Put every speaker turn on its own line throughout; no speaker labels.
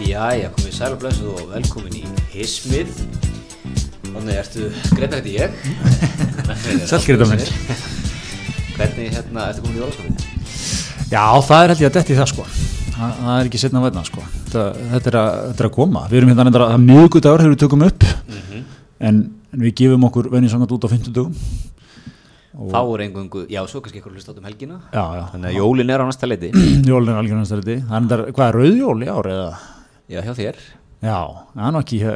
Jæja, komið sæl og blessuð og velkomin í Hismið Þannig ertu, Greta heiti ég
Sæll, Greta mín.
Hvernig hérna, ertu komin í jólaskapin?
Já, það er held ég að detti í það sko Þa, Það er ekki setna vegna sko þetta, þetta, er að, þetta er að koma Við erum hérna reyndar að miðgudagur hefur við tökum upp Mhm. en, en við gefum okkur venjusangat út á 50 dögum
Þá er engungu, já, svo kannski eitthvað hlust átt um helgina
Já, já
Þannig að jólin er á næsta leiti
Jólin er algjörnast þetta Það er reyndar, hvað er rauðjól í ár eða?
Já, hjá þér
Já, það er nú ekki, eh,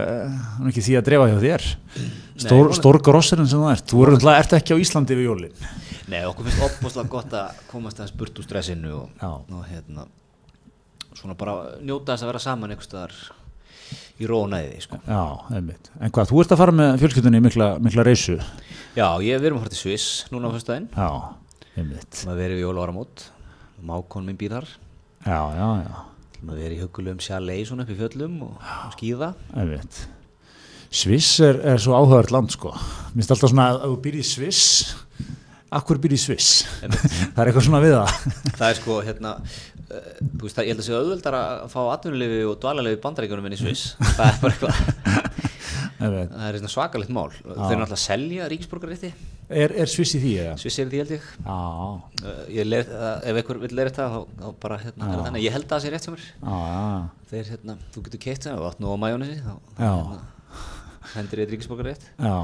það er nú ekki því að drefa hjá þér Stór, stór grossirinn sem það ert Þú eru alltaf, ert ekki á Íslandi við jólin
Nei, okkur finnst opbúslega gott að komast aðeins burt úr stressinu og,
Já.
og hérna, svona bara njóta þess að vera saman einhvers staðar í rónæði, sko
Já, einmitt En hvað, þú ert að fara með fjölskyldunni í mikla, mikla reysu
Já, ég, við erum að fara til Sviss núna á fyrstaðinn
Já, einmitt
Maður verið við jól ára mót Mákon minn býr þar
Já, já, já
Maður verið í hugulegum sjalei svona upp í fjöllum og, og skýða
Einmitt. Sviss er, er svo áhugavert land sko. Mér finnst alltaf svona að ef þú býr í Sviss, akkur býr í Sviss? það er eitthvað svona við það.
Það er sko hérna uh, Þú veist það, ég held að sé auðveldar að fá atvinnulefi og dvalarlefi í bandaríkjunum en í Sviss Það er bara eitthvað
Einmitt.
Það er svona svakalegt mál Þau eru náttúrulega að selja ríkisborgarrétti
er, er Sviss í því eða?
Sviss er því held ég
Já,
uh, ég leir, uh, Ef einhver vil leira þetta þá, þá bara hérna er það þannig Ég held að það sé rétt sem er
já, já.
Þeir hérna, þú getur keitt sem þú átt nú á majónesi þá hérna,
Já.
hendur eitt ríkisborgarrétt
já.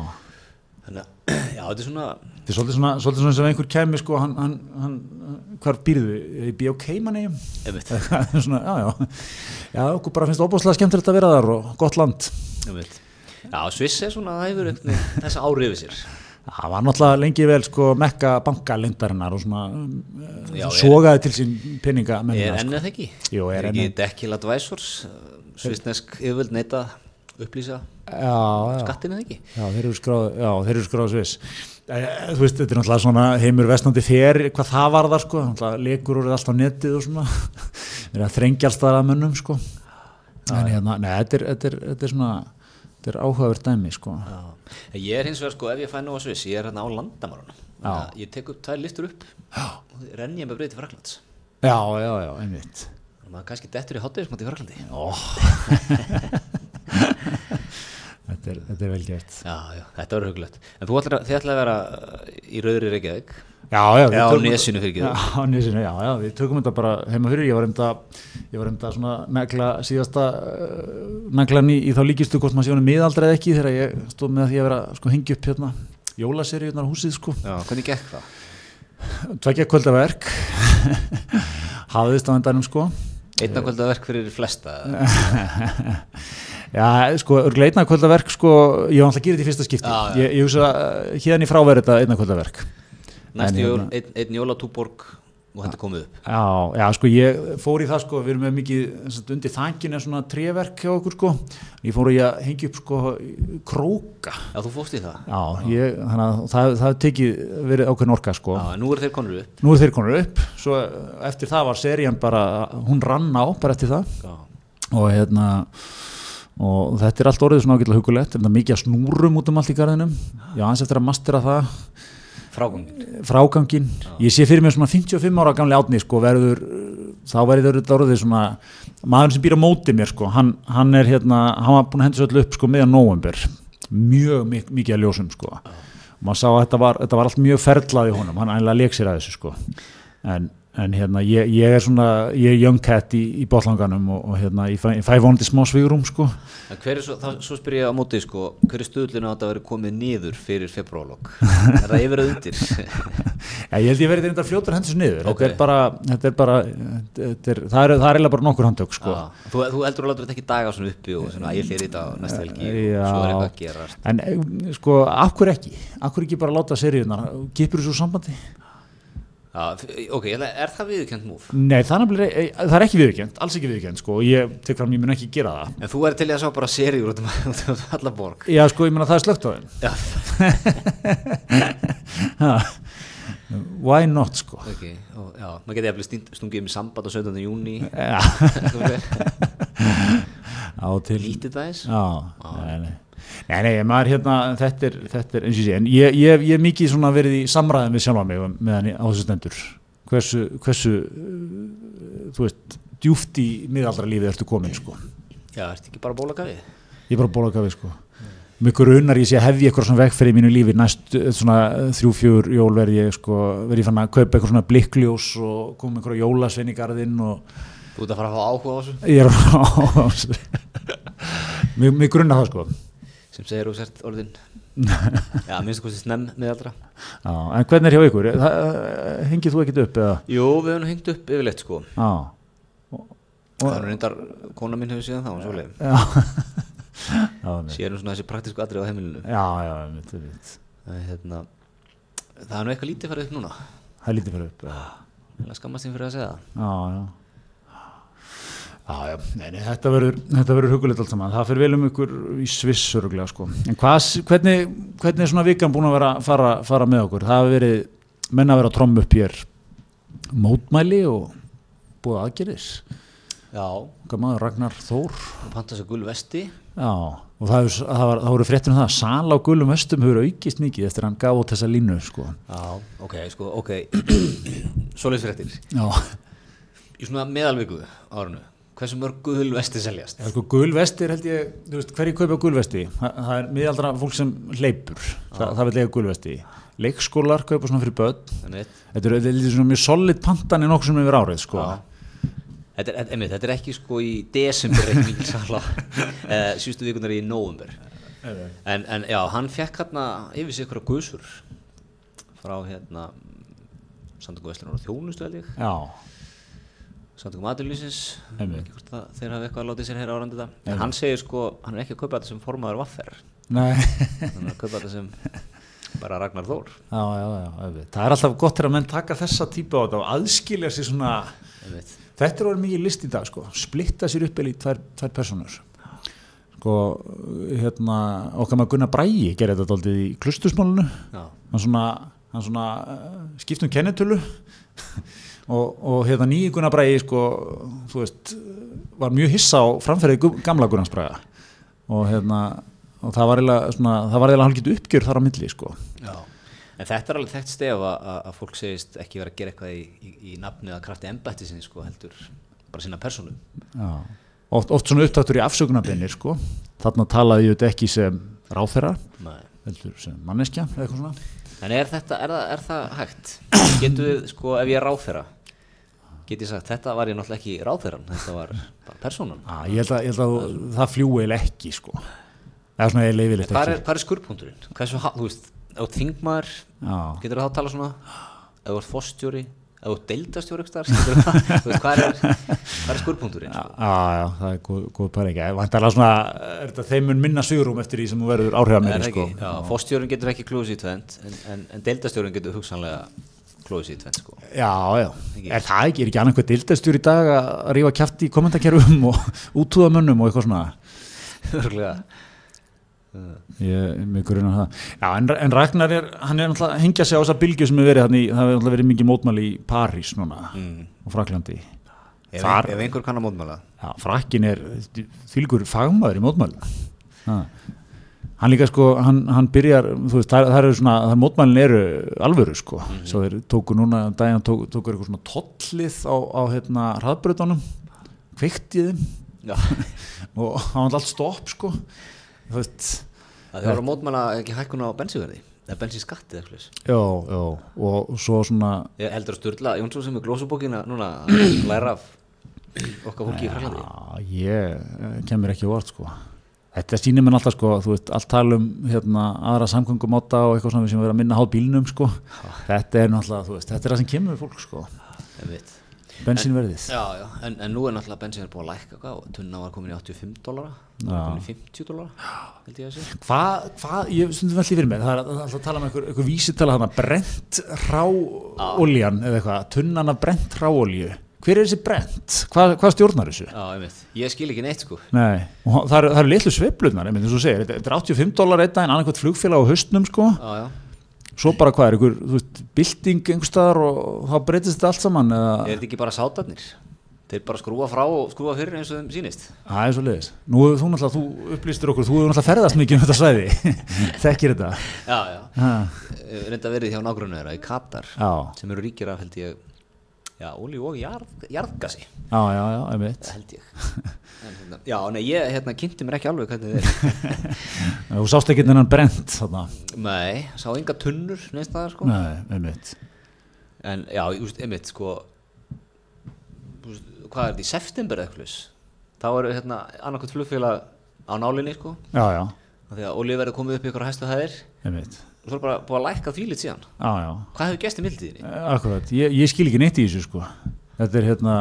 Þannig að, já, þetta er svona
Þetta er svolítið svona, svolítið svona sem einhver kæmi sko, hann, hann, hann, hvar býrðu? Í BOK manni?
Einmitt.
svona, já, já. Já, okkur bara finnst óbúslega skemmtilegt að vera þar og gott land.
Einmitt. Já, Sviss er svona, það hefur einhvern veginn þessa ári yfir sér.
Það var náttúrulega lengi vel sko mekka bankalindarinnar og svona
Já,
já,
er-
sogaði til sín peninga
Er
mennina, sko.
ennið ekki?
Jú, er
er ekki Dekkil Advisors, uh, svissnesk yfirvöld neita að upplýsa
Já, já,
skattinu eða ekki?
já, þeir eru skráð, já, þeir eru skráð sviss. Eh, Þú veist, þetta er náttúrulega svona heimur vestnandi fer, hvað það var þar sko, náttúrulega leikur úr allt á netið og svona, þeir eru að þrengja alls þar að mönnum sko. En hérna, nei, þetta er, þetta er, þetta er svona, þetta er áhugaverð dæmi sko.
Já. En Ég er hins vegar sko, ef ég fæ nú á Sviss, ég er hérna á landamárunum.
Já.
Ég tek upp tvær listur upp og renn ég með breyti Fraklands.
Já, já, já, einmitt.
Og maður kannski dettur í hátæðismat í Fraklandi.
Ó. þetta er, þetta er vel gert.
Já, já, þetta var huglægt. En þú ætlar að, þið ætlar að vera uh, í Rauðri Reykjavík.
Já, já, við
Já, á
tökum-
Nesinu fyrir
Já, á nesinu, já, já, við tökum þetta bara heima fyrir, ég var einmitt að, ég var einmitt að svona negla síðasta uh, neglan í, í þá líkistu hvort maður sé honum miðaldra eða ekki þegar ég stóð með að því að vera sko hengi upp hérna jólaseríunar á húsið sko,
Já, hvernig gekk það?
tvekja kvöldaverk, hafðist á endanum sko.
Einna kvöldaverk fyrir flesta.
Já, sko, örglega einna kvöldaverk sko, ég var alltaf að gera þetta í fyrsta skipti,
Já, já.
ég, ég hugsa að hérna í fráveri þetta einna kvöldaverk.
Næstu
En
jól, einn ein jólatúborg og þetta komið upp.
Já, já, sko ég fór í það sko, við erum með mikið sem sagt, undir þanginu svona tréverk hjá okkur sko, ég fór í að hengja upp sko króka.
Já, þú fórst í það.
Já, ég, þannig að það, það tekið verið ákveðin orka sko.
Já, en nú eru þeir konur upp.
Nú er þeir konur upp, svo eftir það var serían bara, hún rann á bara eftir það
Já.
og hérna, og þetta er allt orðið svona ágætlega hugulegt, þetta er mikið að snúrum út um allt í garðinum, já, hans eftir að mastera það,
Frágangin.
frágangin, ég sé fyrir mér svona 55 ára gamli átni sko verður uh, þá verður þetta orðið svona maður sem býr á móti mér sko hann, hann er hérna, hann var búin að henda svo öll upp sko meðan november, mjög mik mikið að ljósum sko, og maður sá að þetta var, þetta var allt mjög ferlað í honum, hann ægilega leik sér að þessu sko, en, en hérna ég, ég er svona, ég er young cat í, í botlanganum og, og hérna ég fæ, ég fæ vonandi smá svírum sko
En hver er svo, þá, svo spyr ég á móti, sko, hver er stöðlun á þetta að vera komið niður fyrir februarlokk? er það yfir að undir?
Já, ég held ég verið þetta fljótur hendur sér niður
Ok.
þetta er bara, þetta er bara þetta er, það, er, það er eiginlega bara nokkur handtök sko.
Já. Þú, þú heldur að láta þetta ekki daga svona uppi og svona, ég hlýr í þetta á næsta helgi og
Já.
svo er eitthvað að gerast.
En eh, sko, af hverju ekki? Af hverju ekki bara láta seríunar? Gipur þessu úr sambandi?
Já, f- ok, ég ætla- er það viðurkend múf?
Nei, það er, nefnilega, eh, það er ekki viðurkend, alls ekki viðurkend sko, og ég tek fram, ég mun ekki gera það.
En þú er til í að sá bara seríur út um, út um alla borg.
Já, sko, ég meina það er slögt á þeim.
Já,
Ha, Why not, sko?
ok, og, já, maður geti jafnvel stínt- stungið um í samband á 17. júni.
Já, á til...
Lítið það eins?
Já, nei, nei. Nei, nei, maður hérna, þetta er, þetta er eins og sé, en ég, ég, ég er mikið svona verið í samræðin við sjálfa mig um- meðan ég á þessu stendur. Hversu, eh, hversu, uh, þú veist, djúft í miðaldra lífið ertu komin, sko.
Já, Já, ertu ekki bara að bóla gafið?
ég er bara bóla gafið sko mjög grunar ég sé að hefði eitthvað svona vegferð í mínu lífi næst eh, svona eh, þrjú, fjör jól verði ég sko, verði ég fann að kaupa eitthvað svona blikkljós og koma einhverja jólasvein í garðinn og
Þú ert að fara að fá áhuga á þessu
ég er á mjög, mjög grunna það sko
sem segir þú sért orðin Já, minnst kosti snemm með allra
Já, en hvernig er hjá ykkur? Það, eh, hengir þú ekkit upp eða?
Jú, við höfum nú hengt upp yfirleitt sko
Já,
Það er nú reyndar, kona mín hefur síðan þá, hún svoleið
já. já, einmitt.
Sér hún svona þessi praktísku atrið á heimilinu
já, já, einmitt, einmitt.
Það er hérna, það er nú eitthvað lítið farið upp núna
það er lítið fyrir upp. Já,
Það skammast þín fyrir að segja það
já. Já, já, nei, nei, þetta verður, þetta verður hugulegt allt saman, það fyrir vel um ykkur í Sviss öruglega sko. En hvað, hvernig, hvernig er svona vikan búin að vera, fara, fara með okkur? Það hafa verið, menna að vera að trommu upp hér mótmæli og búið aðgerðis.
Já,
Hvað maður Ragnar Þór?
hún panta sér gul vesti
Já, og það, hefur- það, var, það voru fréttir um það að sal á gulum vestum hefur aukist mikið eftir að hann gaf út þessa línu, sko.
Já, ok, sko, ok Svoleiðs fréttir
Já,
Í svona meðalviku árunu Hversu mörg gul vesti seljast?
sko gulvestir held ég, þú veist, hverju kaupa gulvesti? Þa, það er miðaldra fólk sem hleypur, Þa, það vil eiga gulvesti. Leikskólar kaupa svona fyrir börn,
Þannig,
þetta eru þetta er svona mjög solid pantan en okkur sem hefur árið, sko.
já Þetta er, þetta- einmitt, þetta er ekki sko í desember reikning sala uh, síðustu vikunar í november en, en já, hann fekk hérna yfir sig ykkur að guðsur frá hérna samtökum Vestlunar og þjónustu held ég
Já,
samtökum aðurlýsins
Einmitt.
ekki hvort það þeir hafi eitthvað að láta sér heyra árandi þetta en hann segir sko, hann er ekki að kaupa þetta sem formaður vaffer
nei,
hann er að kaupa þetta sem bara Ragnar Þór
já, já, já, auðvitað. það er alltaf gott þegar menn taka þessa típu á þetta og aðskilja sér svona,
einmitt.
þetta er orðið mikið list í dag, sko, splitta sér upp eða í tvær, tvær personur. Sko, hérna, okkar maður Gunnar Bræi gerir þetta daldið í klustursmálunu.
já,
hann svona, hann svona uh, skipt um kennetölu og, og hérna nýi Gunnar Bræði sko, þú veist var mjög hissa á framferði gu- gamla Gunnars Bræða og hérna og það var eiginlega svona, það var eiginlega hálfgeitt uppgjör þar á milli sko
já En þetta er alveg þekkt stef að, að- að fólk segist ekki vera að gera eitthvað í, í, í nafni eða krafti embætti sinni sko heldur bara sinna persónu.
Já. oft, oft svona upptættur í afsökunarbeinir sko þarna talaði ég þetta ekki sem ráþera
Nei.
heldur sem manneskja eða eitthvað svona
En er þetta, er það, er það hægt? Getur við, sko, ef ég er ráþera get ég sagt, þetta var ég náttúrulega ekki ráþeran, þetta var bara persónan.
ah, ég, held að, ég held að þú- það fljú eiginlega ekki sko það er svona eiginlega yfirleitt
Hvað
ekki
er, hvað er skurrpunkturinn? Hversu, ha- þú veist, ef þú ert þingmaður,
Já.
getur þá að tala svona, ef þú ert foststjóri, ef þú ert deildastjóri ykkur starf, getur það, þú veist, hvað er, hvað er skurrpunkturinn?
Já, já, já, það er góð, góð pælinga. Vantarlega svona, er þetta þeim mun minna sigurum eftir því sem þú verður áhrifað
Er
með
það
því, sko.
ekki? Já, foststjórin getur ekki klóðs í tvend, en, en, en deildastjórin getur hugsanlega klóðs í tvend, sko.
Já, já. Er það ekki, er ekki annað eitthvað dildastjúr í dag að rífa kjæft í kommentarkerfum og útúðamönnum og eitthvað svona?
Örglega.
Ég, mjög grunna það. Já, en, en Ragnar er, hann er náttúrulega að hengja sig á þessa bylgju sem er verið þannig, það hefur náttúrulega verið mikið mótmæli í París núna og Fraklandi.
Ef,
Þar-
ef einhver kann að mótmála.
Já, frakkin er fylgur fagmaður í mótmælu. Ha. Hann líka sko, hann, hann byrjar, þú veist, það, það eru svona, það mótmælin eru alvöru sko. Svo þeir tóku núna, daginn tóku, tóku eitthvað svona tollið á, á hérna hraðbröðunum, kveiktið þeim
Já.
og það var allt stopp sko. Þú veist,
Það þið voru að mótmæla ekki hækkun á bensínverði eða bensinskatti eða eitthvað
já, já, og svo svona,
Ég heldur að Sturla Jónsson sem er glósubókina núna að læra af okkar fólki í Frælandi
já, ég eh, kem mér ekki á orð sko. Þetta sýnir mér alltaf sko, þú veist, allt tala um hérna aðra samgöngumáta og eitthvað svona sem verður að minna háð bílnum sko. Þetta er náttúrulega, þú veist, þetta er það sem kemur við fólk sko.
Einmitt.
Bensinverðið.
Já, já, en, en nú er náttúrulega bensin er búin að lækka hvað, og tunna var komin í 85 dólara komin í 50 dólara held ég að sé
Hvað, hva, ég stundum alltaf fyrir mig, það er það er alltaf að tala um einhver, einhver vísitala hana, brent ráoljan eða eitthvað, tunnan af brent ráolju. Hver er þessi brent? Hvað, hvað stjórnar þessu?
Já, einmitt, ég skil ekki neitt sko
Nei, og hon- það eru, það eru litlu sveiflunar, einmitt, eins og þú segir, þetta- þetta er 85 dólar einn daginn, annarkvæmt flugfélag á haustnum sko,
Já, já,
svo bara hvað er einhver, þú veist, bylting einhverstaðar og þá breytist þetta allt saman
er
eða,
þetta ekki bara sátarnir? Þeir bara skrúa frá og skrúa fyrir eins og þeim sýnist
það er svo leiðis. Nú hefur þú náttúrulega, þú upplýstir okkur, þú hefur náttúrulega ferðast mikið um þetta svæði, þekkir þetta.
Já, já, Eh,
Ha,
reynda verið hjá nágrunna þeirra í Katar
Já,
sem eru ríkir af held ég já, olíu og jarð, jarðgasi
já, já, já, einmitt
held ég en, hérna, já, nei, ég hérna, kynnti mér ekki alveg hvernig þið er
þú sást ekki þennan brent þarna
nei, sá enga tunnur neins staðar sko
nei, einmitt
en já, ég veist, einmitt sko úst, hvað er þetta í september eða eitthvað þá eru hérna annarkvæmt flugfélag á nálinni sko
já, já,
af því að olíu verður komið upp í ykkur á hæstu hæðir
einmitt
og svo er bara búið að lækka þvílit síðan
já, já,
hvað hefur gæst í mildtíðinni?
Eh, akkurat ég, ég skil ekki neitt í þessu sko þetta er hérna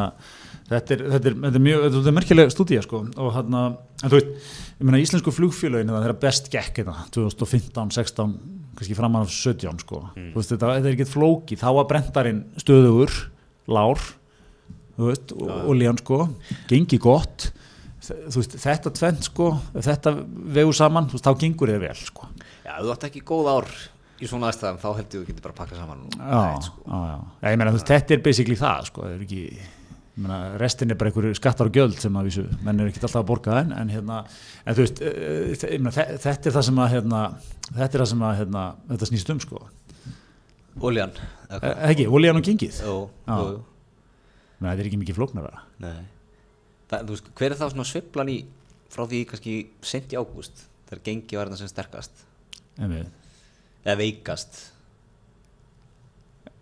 Þetta er, þetta, er, þetta, er mjög, þetta er svolítið merkileg stúdía sko og hérna, en þú veit, ég meina íslensku flugfélögin það er að best gekk hérna 2015, 16, kannski framan af 17 sko, þú veist, þetta, þetta er ekkert flóki þá var brendarinn stöðugur lár, þú veist og olían sko, gengi gott Þe- þú veist, þetta tvent sko ef þetta vegu saman, þú veist, þá gengur þið vel sko,
Já, ef þú átt ekki góð ár í svona aðstæðum þá held ég þú getur bara að pakka saman og-
já,
Nei, sko.
já, já. Já, ég meina, þú veist, þetta er basically það sko, það er ekki ég meina, restin er bara einhverju skattar og gjöld sem að vísu, menn er ekki alltaf að borga en, en hérna, en þú veist eh, eh, ég meina, þe- þetta er það sem að hérna, þetta er það sem að hérna, þetta snýst um sko,
Oljan eða
Eh,
hvað?
ekki, olían og gengið
Jú,
Já.
jú, jú.
Men, þetta er ekki mikið flóknara
Nei. Það, þú veist, hver er þá svona sveiflan í frá því kannski sent í ágúst þegar gengi var þetta sem sterkast
Einmitt.
eða veikast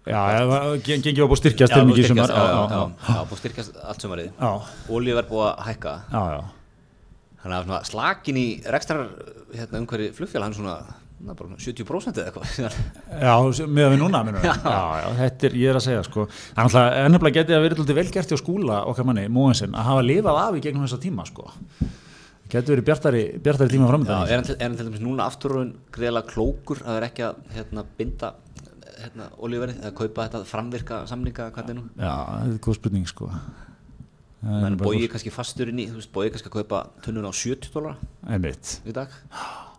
já, eh, gen- gengið var búið að styrkjast til
búið
mikið í
styrkjast,
sumar,
já, já,
já,
já, já, búið að styrkjast allt sumarið
já,
Olíu var búið að hækka
já, já, já.
þannig að svona slakin í rekstrar hérna, umhverju flugfélag hann svona na, bara svona 70% eða eitthvað
Já, með að við núna minnum við. Já, já, þetta er, ég er að segja sko Þannig að ennabla getið að verið lítið velgert hjá skúla okkar manni, móinsinn, að hafa lifað af í gegnum þessa tíma sko Getið verið bjartari, bjartari tíma
Já,
framöndan
er hann, til, er hann til dæmis núna afturröðun greiðlega klókur að vera ekki að hérna, binda hérna, olíuverið eða kaupa þetta framvirka samninga hvað er nú?
Já, þetta er góð spurning sko Það er
Menn
bara
bóið kannski fastur inn í, þú veist, bóið kannski að kaupa tunnun á 70 dólar
góð- Einmitt
í dag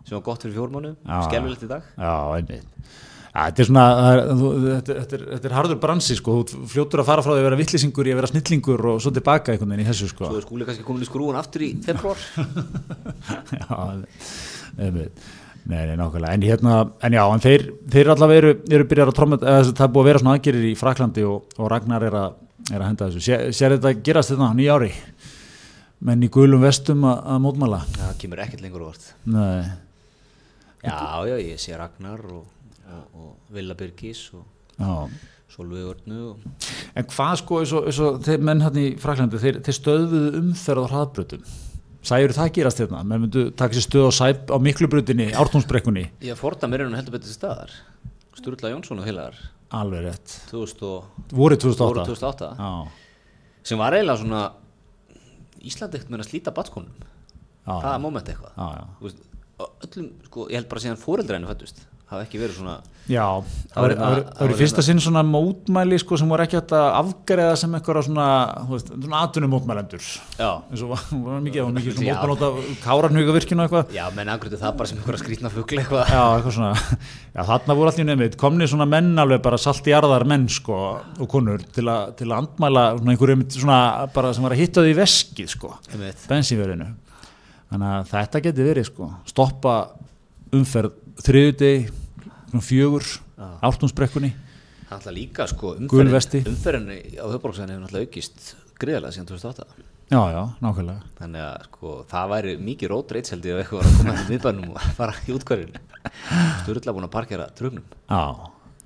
sem var gott fyrir fjórmánu,
Já.
skelvilegt í dag
Já, einmitt Já, þetta er svona, það er- þú- þetta er, þetta, er, þetta er harður bransi sko, þú fljótur að fara frá því að vera vittlisingur í að vera snillingur og svo tilbaka einhvern veginn í þessu sko.
Svo er skúli kannski komin í skrúun aftur í februar
já, einmitt. nei, nei, nákvæmlega en hérna, en já, en þeir, þeir allavega eru, eru byrjar að tromma, eða, þessi- það er búið að vera svona aðgerir í Fraklandi og, og Ragnar er að, er að henda þessu, Sér, sér þetta gerast þetta á nýja ári menn í gulum vestum að, að mótmæla
Það kemur ekkert lengur úr vart
nei,
Já, já, ég sé Ragnar og, og, og Villa Birgis og
já
Solveig Örnu og
en hvað sko, eins og, eins og þeir menn hann í Fraklandi, þeir, þeir stöðuðu umferð á hraðbrutum, sæjur það gerast hérna, menn myndu taka sér stöð á, sæp, á miklubrutinni, ártúnsbrekkunni
Ég forða mér enn heldur betur til staðar Sturla Jónsson og heilagar
alveg rétt,
2000 og
voru 2008
voru 2008
Já.
sem var eiginlega svona Íslandi ekkert með að slíta batkonum
Já.
það er moment eitthvað
Já, já.
Þú veist, og öllum, sko, ég held bara síðan fóreldræðinu fættust hafa ekki verið svona
Já,
Það var
það
hérna- það
var- það
var
voru fyrsta sinn svona mótmæli sko, sem voru ekki hægt að afgreða sem eitthvað svona, þú veist, svona atvinnum mótmælendur
já,
eins og var, var mikið, var mikið svona
Já.
mótmæl út af kárarnhugavirkjunu og eitthvað
já menn angriðu það bara sem einhverja skrýtna fugli eitthvað
Já, eitthvað svona, já, þarna voru allir nefnir, komni svona menn alveg bara salt í arðar menn sko og konur til, a, til að andmæla svona einhverjum svona bara sem var að hitta þau í veskið sko,
Einmitt.
bensínverðinu. Þannig að þetta geti verið sko, stoppa umferð þriðudegi, svona fjögur, ártúnsbrekkunni.
það er alltaf líka sko
Gul vesti.
umferðin, umferðinni á höfbróksæðinu hefur alltaf aukist greiðlega síðan 2008
Já, já, nákvæmlega.
þannig að sko það væri mikið rótreitseldi ef eitthvað var að koma hérna í miðbænum og fara í útkvarðinu Sturla búin að parkera trugnum
Já.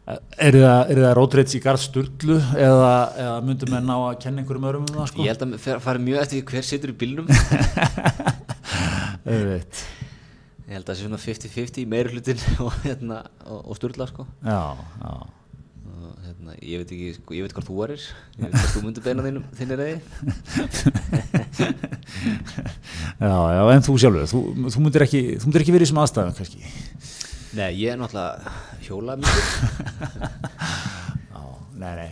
Er það, er það rótreits í garð sturglu eða, eða myndum menn á að kenna einhverjum öðrum um það sko?
ég held að fer- fari mjög eftir því hver situr í bílnum
Auðvitað.
Ég held að það sé svona 50-50 í meiri hlutin og, hérna, og, og Sturla sko.
Já, já.
og, hérna, ég veit ekki, sko, ég veit hvað þú erir ég veit hvað þú myndir beina þínum, þínir reyði
Já, já, en þú sjálfur, þú, þú, myndir ekki, þú myndir ekki verið í þessum aðstæðum kannski.
Nei, ég er náttúrulega hjólað mjög
Já, nei, nei.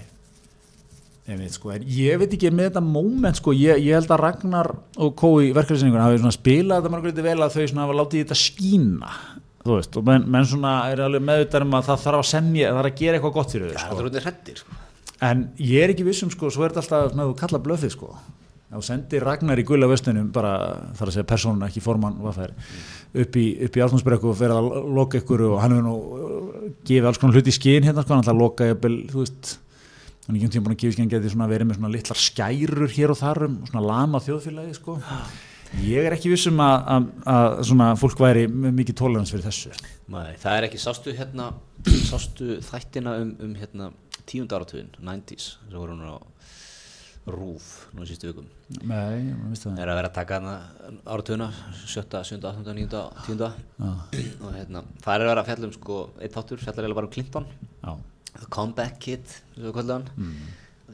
Ég veit, sko, en ég veit ekki með þetta moment, sko, ég, ég held að Ragnar og Kó í verkefnisningunum hafi svona spilað þetta margur vel að þau svona hafa látið þetta skína, þú veist, og menn, menn svona er alveg meðvitað um að það þarf að semja, það þarf að gera eitthvað gott fyrir þau, sko.
Það er út í hrettir sko.
En ég er ekki vissum sko, svo er þetta alltaf svona þú kalla blöfið sko. Ef Þú sendir Ragnar í gula vestunum, bara þar að segja persónun, ekki formann, hvað það er, upp í, upp í Ártúnsbrekku og fer að loka ykkur og hann hefur nú uh, gefið alls konar hluti í skinn hérna, sko, hann ætla að loka, jafnvel, þú veist, hann er ekki um tíma búin að gefa geti svona verið með svona litlar skærur hér og þar um svona lama þjóðfélagi sko. ég er ekki vissum að, að, að svona fólk væri með mikið tolerans fyrir þessu
Nei, það er ekki, sástu hérna sástu þættina um, um hérna tíund áratugin, 90s sem voru hún á RÚF nú í sístu vikum
nei, maður veist það
er að vera að taka hana áratugina 7, 7, 8, 9, 10 og hérna, það er að vera að fjalla um sko, eitt þáttur, fjallar eiginlega bara um Clinton
já,
The Comeback Kid, sem við kvöldum hann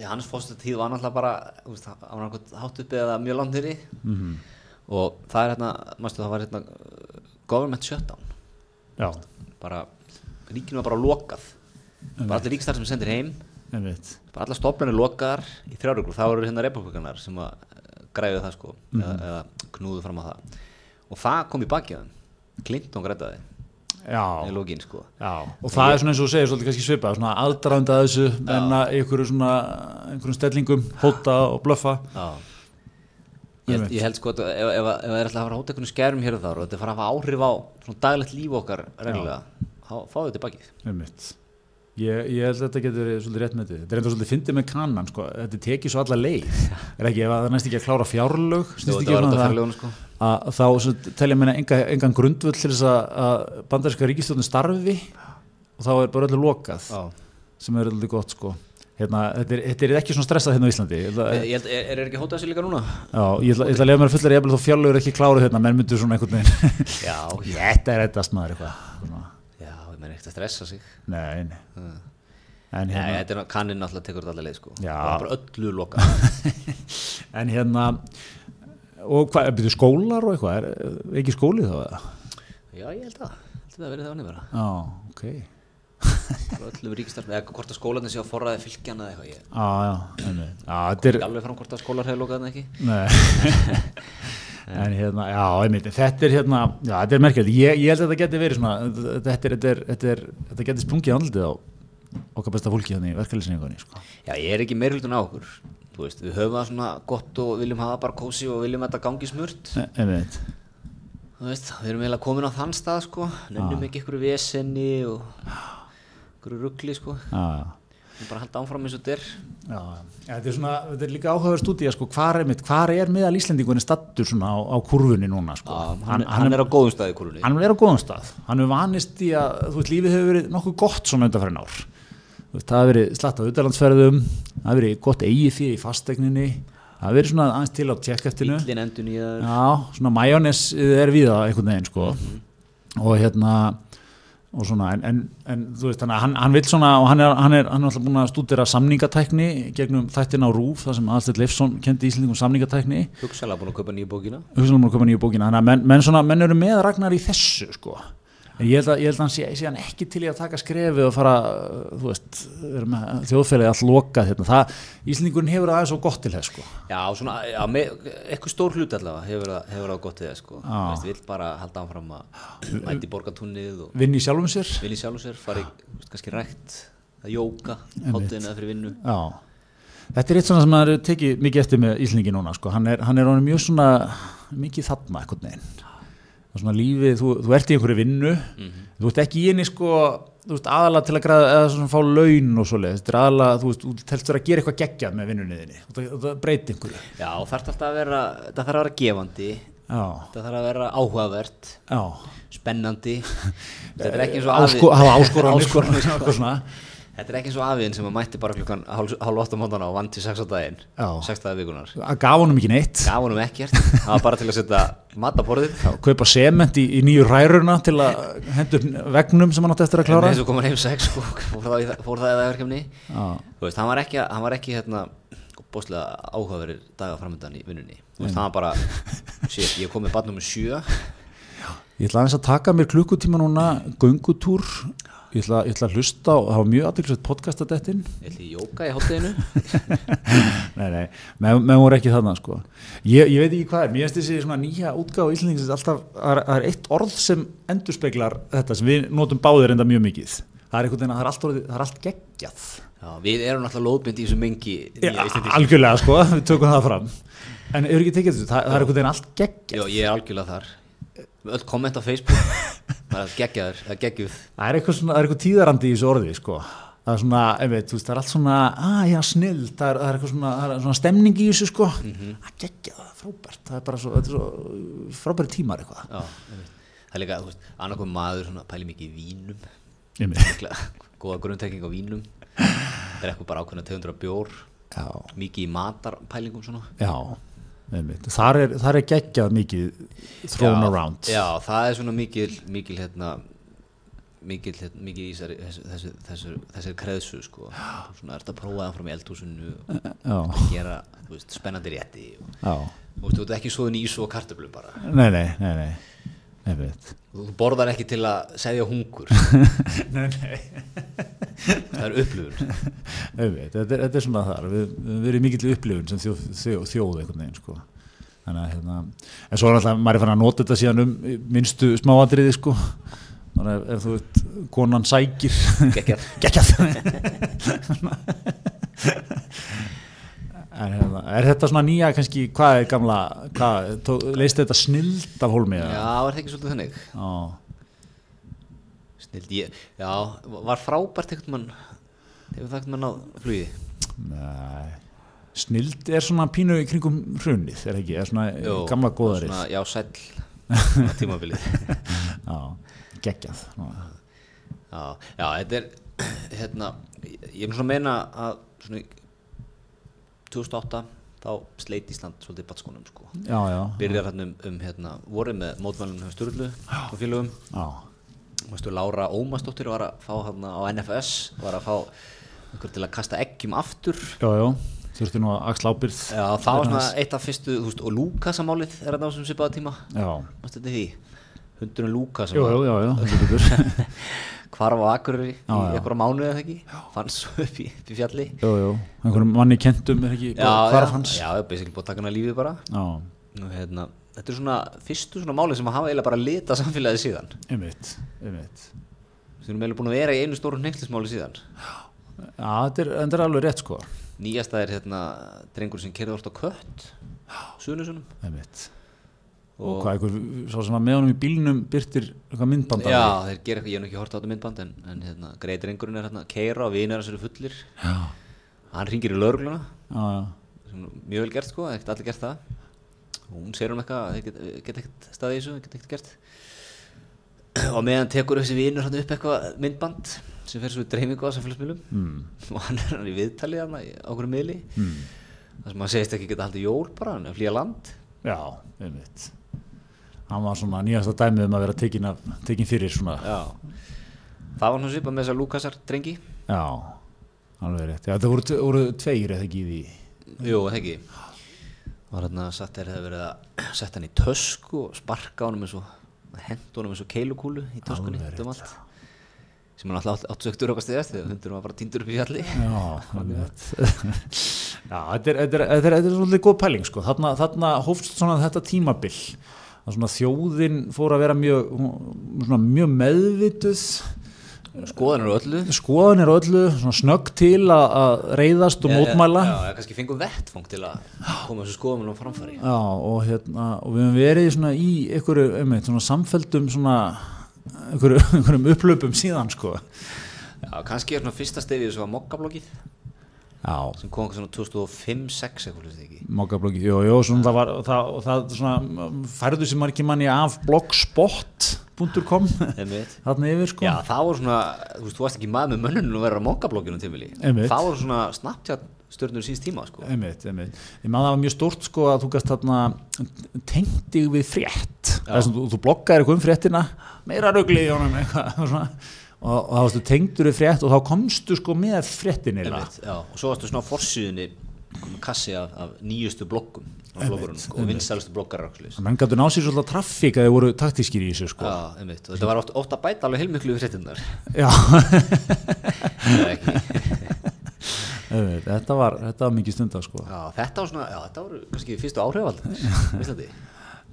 því hans fórstu tíð var náttúrulega bara þú veist, hann hann var náttúrulega hátt uppi eða mjög langt nýri og það er hérna, mástu það var hérna uh, government shutdown
já,
bara, ríkinu var bara lokað bara allir ríkstar sem sendir heim
einmitt
bara allar stofnarnir lokaðar í þrjáruglur það voru hérna republikanar sem að græðu það sko,
Mhm.
eða, eða knúðu fram á það og það kom í bakið á þeim Clinton grætaði
já,
í lógin sko
Já, og það er svona eins og þú segir svolítið kannski svipað, svona aðdraðanda að þessu menna í einhverju svona einhverjum stellingum, hóta og blöffa
Já. Ég, held- ég held sko að ef, ef, ef það er alltaf að fara að hóta einhvern skærum hér og þar og þetta fara að hafa áhrif á svona daglegt líf okkar reglulega, þá fáðu þetta í bakið
einmitt ég, ég held að þetta getur verið svolítið rétt með þetta þetta er enda svolítið fyndið með kannan, sko þetta tekið svo alla leið, er ekki ef að það næst ekki að klára fjárlög,
Jú,
snýst
þetta
ekki
var
um
þetta
það
fyrirlegun sko
að þá sem telja mér enga, engan grundvöld til þess að, að bandaríska ríkistjóðin starfi og þá er bara öllu lokað
Já.
sem er öllu gott, sko hérna, þetta, er, þetta er ekki svona stressað hérna á Íslandi Ég held að-
Ég held, er, er ekki hótað þessi líka núna?
Já, ég ætla, ég ætla að lefa mér fullar jafnvel þó fjárlögur ekki kláru hérna, menn myndur svona einhvern veginn
Já, já,
Þetta er þetta smaður eitthvað svona.
ég menn ekkert að stressa sig
Nei, nei En
Nei,
hérna,
þetta er kanninn alltaf tekur þetta allir leið sko
Já.
Bara bara öllu lokað
en hérna og hvað, byrju skólar og eitthvað er, er ekki skóli þá eða?
Já, ég held að, held að það verið það annir bara
Já, ok
Bara Öllum ríkistarf, eða hvort að skólarnir séu að forraði fylgjana eða eitthvað Ég
Já, já, einmitt. já, þetta er
er alveg fram hvort að skólar hefur lokað þarna ekki
Nei. en hérna, já, einmitt, þetta er hérna, já, þetta er merkjöld, ég, ég held að þetta geti verið svona, þetta, er, þetta, er, þetta, er, þetta geti sprungið andlitið á okkar besta fólki þannig í verkefliðsningunni, sko.
Já, ég er ekki meirhildun á okkur Þú veist, við höfum það svona gott og viljum hafa bara kósi og viljum að þetta gangi smurt
Nei, einmitt,
Þú veist, við erum eiginlega komin á þann stað sko
Ah.
Nennum ekki ykkur vesenni og ykkur ruggli sko
já, já.
Við bara halda áfram eins og þetta er
Já, já, þetta er, svona, þetta er líka áhugaður stúdíja sko, hvar, einmitt, hvar er miðal Íslendingunni stattur svona á, á kurfunni núna sko.
hann, hann, er á góðum staði í kúrunni
hann er á góðum stað hann er vanist í að þú veist, lífið hefur verið nokkuð gott svona undanferðin ár Þú veist, það hefur verið slatt á utalandsferðum það hefur verið gott eigi fyrir í fastegninni það hefur verið svona aðeins til á tjekkeftinu
Bíllinn endur nýjaður
já, svona majónes er víða einhvern veginn sko og hérna og svona, en, en, en þú veist, þannig að hann, hann vil svona og hann er, hann er, hann er alltaf búin að stúdera samningatækni gegnum þættin á RÚF þar sem Alstedt Leifsson kendi Íslendingum samningatækni
Hugsalega búin að kaupa nýju bókina
hugsanum að koma nýju bókina þannig að menn, menn, svona, menn eru með Ragnar í þessu sko. en ég held að, ég held að hann sé, sé hann ekki til í að taka skrefið og fara uh, þú veist, vera með þjóðfélagi allt lokað hérna. það, Íslendingurinn hefur það aðeins svo gott til þess sko.
Já, svona, já, með, eitthvað stór hlut allavega hefur það, hefur það gott við það sko Þú veist, vill bara halda áfram að mæti borgatúnnið og
vinn í sjálfum sér
vil í sjálfum sér fara í, þú veist, kannski rækt að jóka, háttegina fyrir vinnu
Já. þetta er eitt svona sem maður hefur tekið mikið eftir með Íslendingi núna sko. hann er, hann er honum mjög svona mikið þarna einhvern veginn Það er svona lífið, þú, þú ert í einhverju vinnu
Mhm.
þú ert ekki í henni sko þú ert aðalega til að græða eða svona fá laun og svoleiðis, þetta er aðalega, þú veist, þú telst vera að gera eitthvað geggjað með vinnunni þinni og það, það breyti einhverju
Já, það þarf alltaf að vera, það þarf að vera gefandi
Já,
það þarf að vera áhugavert
já
spennandi þetta er ekki eins og afi
Ásko, hafa áskoranir
Áskoranir, sko.
svona, eitthvað svona.
þetta er ekki eins og afiðin sem að mætti bara klukkan hálf hálf átta mótana og vant til sex á daginn
Já.
sex dagar vikunar
að gaf honum ekki neitt
gaf honum ekkert, það var bara til að setja mataborðið
að kaupa sement í, í nýju ræruna til að hendur vegnum sem hann átti eftir að
en
klára
eins og kom hann heim sex og fór það, í það- fór það í það verkefni
Já.
þú veist, hann var ekki, hann var ekki hérna bóðslega áhugaverið daga framöndan í vinnunni þú veist, hann var bara shit, ég kom með barnum með sjö
Ég ætla aðeins að taka mér klukkutíma núna, göngutúr, ég ætla, ég ætla að hlusta og það var mjög aðdeklisveit podcast að dettin.
ég ætli í jóka í hátteginu
Nei, nei, með, með voru ekki þarna sko. Ég, ég veit ekki hvað er, mér finnst þessi svona nýja útgáfa íslendingisins alltaf, það er, það er eitt orð sem endurspeglar þetta sem við notum báðir enda mjög mikið. Það er einhvern veginn að það er allt, orðið, það er allt geggjað.
Já, við erum náttúrulega lóðbind í þessu mengi
Ja, algjörlega sko, við tökum það fram. En eru ekki tekið þessu, það, það er einhvern veginn allt geggjað.
Já, ég er algjörlega þar Með öll komment á Facebook Það er geggjaður, það er geggjuð
Það er eitthvað, svona, það er eitthvað tíðarandi í þessu orði sko. það er svona, ef veit, þú veist, það er allt svona að já, snill, það er, það er eitthvað svona, það er svona stemning í þessu sko mm
Mhm.
-hmm. að gegja það, frábært, það er bara svo, þetta er svo uh, frábæri tímar eitthvað
Já, einmitt. það er líka, þú veist, annarkoð maður svona, pæli mikið í vínum
Einmitt.
Líklega, góða grunntekning á vínum það er eitthvað bara ákveðna tegundur af bjór
já,
mikið í matarpælingum svona
já, einmitt þar er, þar er geggjað mikið thrown
já,
around
Já, það er svona mikil, mikil hérna mikil, hérna, mikil í þessari þessu, þessu, þessari kreðsu sko svona er þetta að prófa það fram í eldhúsinu og
já,
gera, þú veist, spennandi rétti og
já.
þú veist, þú ert ekki svoðin í svo kartöflum bara
nei, nei, nei, nei einmitt
þú borðar ekki til að segja hungur
nei, nei
það er upplifun
Einmitt, þetta, er, þetta er svona þar við við höfum verið mikill upplifun sem þjóð, þjóð, þjóð einhvern veginn sko. þannig að hérna, en svo er alltaf maður er fann að nota þetta síðan um minnstu smáatriði sko. þannig að ef- ef þú veit konan sækir
Geggjað.
geggjað en hérna, er þetta svona nýja kannski, hvað er gamla hvað, tó, leist þetta snild af hólmi
Já,
eða?
er það ekki svolítið þannig
Já.
Snild, ég, já, var frábært einhvern mann hefur það einhvern mann á flugi
Nei. snild er svona pínu í kringum hrunið, er ekki, er svona
Jó,
gamla góðarið
svona, Já, sæll svona tímabilið
Já, geggjað núna.
já, já, þetta er hérna, ég ég er svona að meina að svona í 2008 þá sleit Ísland svolítið batskónum sko
Já, já,
byrjar hérna um, um hérna, voru með mótmælunum hjá Sturlu og félögum
já,
Mástu, Lára Ómasdóttir var að fá hérna á NFS var að fá einhver til að kasta eggjum aftur
já, já Þurfti nú að axla ábyrð
Já, það var svona eitt af fyrstu, þú veist, og Lúkasamálið er þetta á sem svipaða tíma,
Já,
mástu þetta því? Hundurinn Lúka sem
jú,
var
jú, já, já, heldur betur
hvarf á Akureyri í
Já, já.
einhverja mánuði eða ekki, fannst svo upp í, upp í fjalli.
Jú, jú, einhverjum manni kentum er ekki
Já,
bara hvarf
já,
hans
Já, basically búið að taka hann að lífið bara.
Já,
Og hérna, þetta er svona fyrstu svona málið sem að hafa eiginlega bara litað samfélagið síðan.
einmitt, einmitt
Við erum eiginlega búin að vera í einu stóru hneikslismáli síðan.
Já, þetta er, þetta er alveg rétt sko
Nýjasta er hérna drengur sem kerði orðt á kött, suðnusunum.
Einmitt Og
Og-
hvað, einhver, svo sem var með honum í bílnum byrtir eitthvað myndband af því.
Já, þeir gera eitthvað, ég hef nú ekki hort á þetta myndband en, en hérna, greið drengurinn er hérna að keira og vinir hans eru fullir
já,
hann ringir í laurugluna
já, já
sem er mjög vel gert sko, ekkert allir gert það og hún segir hún eitthvað að þeir get, eh, get ekkert staðið í þessu, get ekkert gert og á meðan tekur þessi vinur hann upp eitthvað myndband sem fer svo í dreifingu á samfélagsmiðlum mm.
Hmm.
og hann er hann í viðtalið hann á okkur miðli mm. þar sem hann segist ekki geta haldið jól bara hann er að flýja land
Já, einmitt Hann var svona nýjasta dæmið um að vera tekin, af, tekin fyrir svona
Já. það var hann svipað með þess að Lukasar drengi
Já, alveg rétt. Já, þetta voru, t- voru tveir eða ekki í því.
Jú, það ekki var hérna satt er það verið að setja hann í tösku og sparka honum eins og henda honum eins og keilukúlu í töskunni
Alveg
út um allt sem hann alltaf áttu söktur okkar stiðast þegar hundur var bara týndur upp í fjalli
Já, alveg rétt. Já, þetta er, þetta, er, þetta, er, þetta er svolítið góð pæling, sko. Þarna, þarna hófst svona þetta tímabil. Að svona þjóðin fór að vera mjög, hún- svona mjög meðvituð,
skoðan eru öllu
skoðanir á öllu, svona snögg til að, að reyðast og mótmæla.
Já, já, kannski fengum vettfóng til að koma þessu skoðum á framfæri
Já, og, hérna, og við höfum verið svona í einhverju, einmitt, svona samfeldum svona, einhverju, einhverjum upplöpum síðan, sko.
Já, kannski er svona fyrsta stefið þessu var mokkablokkið
Já,
sem kom kannski svona 2005-06 eitthvað hlusti ekki
Mokkabloggi, jú, jú, svona það var það, og það svona mm, færðu sem margir manni af blogspot.com
Einmitt.
þarna yfir sko
Já, það voru svona, þú veist, þú varst ekki maður með mönnunum að vera á mokkablokkinu tímili
Einmitt.
Það voru svona Snapchat stjörnur síns tíma, sko
einmitt, einmitt, ég maður það var mjög stórt sko að þú gæst þarna tengt þig við frétt, það er svona þú, þú bloggaðir eitthvað um fréttina, meira ruglið í honum eitthvað svona og, og þá varstu tengdur við frétt og þá komstu sko með fréttinni
Einmitt, já, og svo varstu svona á forsýðinni komið kassi af, af nýjustu bloggum á bloggurum sko, og vinsalustu bloggarar og svoleiðis.
menn gætu ná sér svolítið að traffík að þið voru taktískir í þessu sko
Já, einmitt, og þetta var oft, oft að bæta alveg heilmiklu við fréttinnar
Já,
Eða ekki.
einmitt, þetta, var, þetta var mikið stundar sko
já, þetta var svona, já, þetta voru kannski fyrstu áhrifald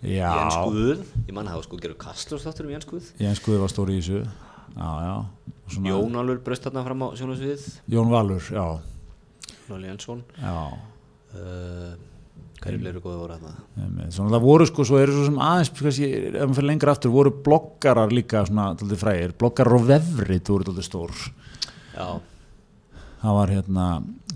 Já,
Jens Guð, ég manna það var sko gerur kastlós þáttur um Jens Guð
Jens Guði var stóri í þessu já, já. Og Svona,
Jón Alur braust þarna fram á sjónasviðið
Jón Valur já,
Lóli Jensson
já.
uh, hverju fleiri góði voru þarna
einmitt. Svona, það voru sko, svo eru svo sem aðeins kannski, ef maður fyrir lengra aftur, voru bloggarar líka svona, tóldi frægir, bloggarar og vefrit voru tóldi stór
já,
það var hérna,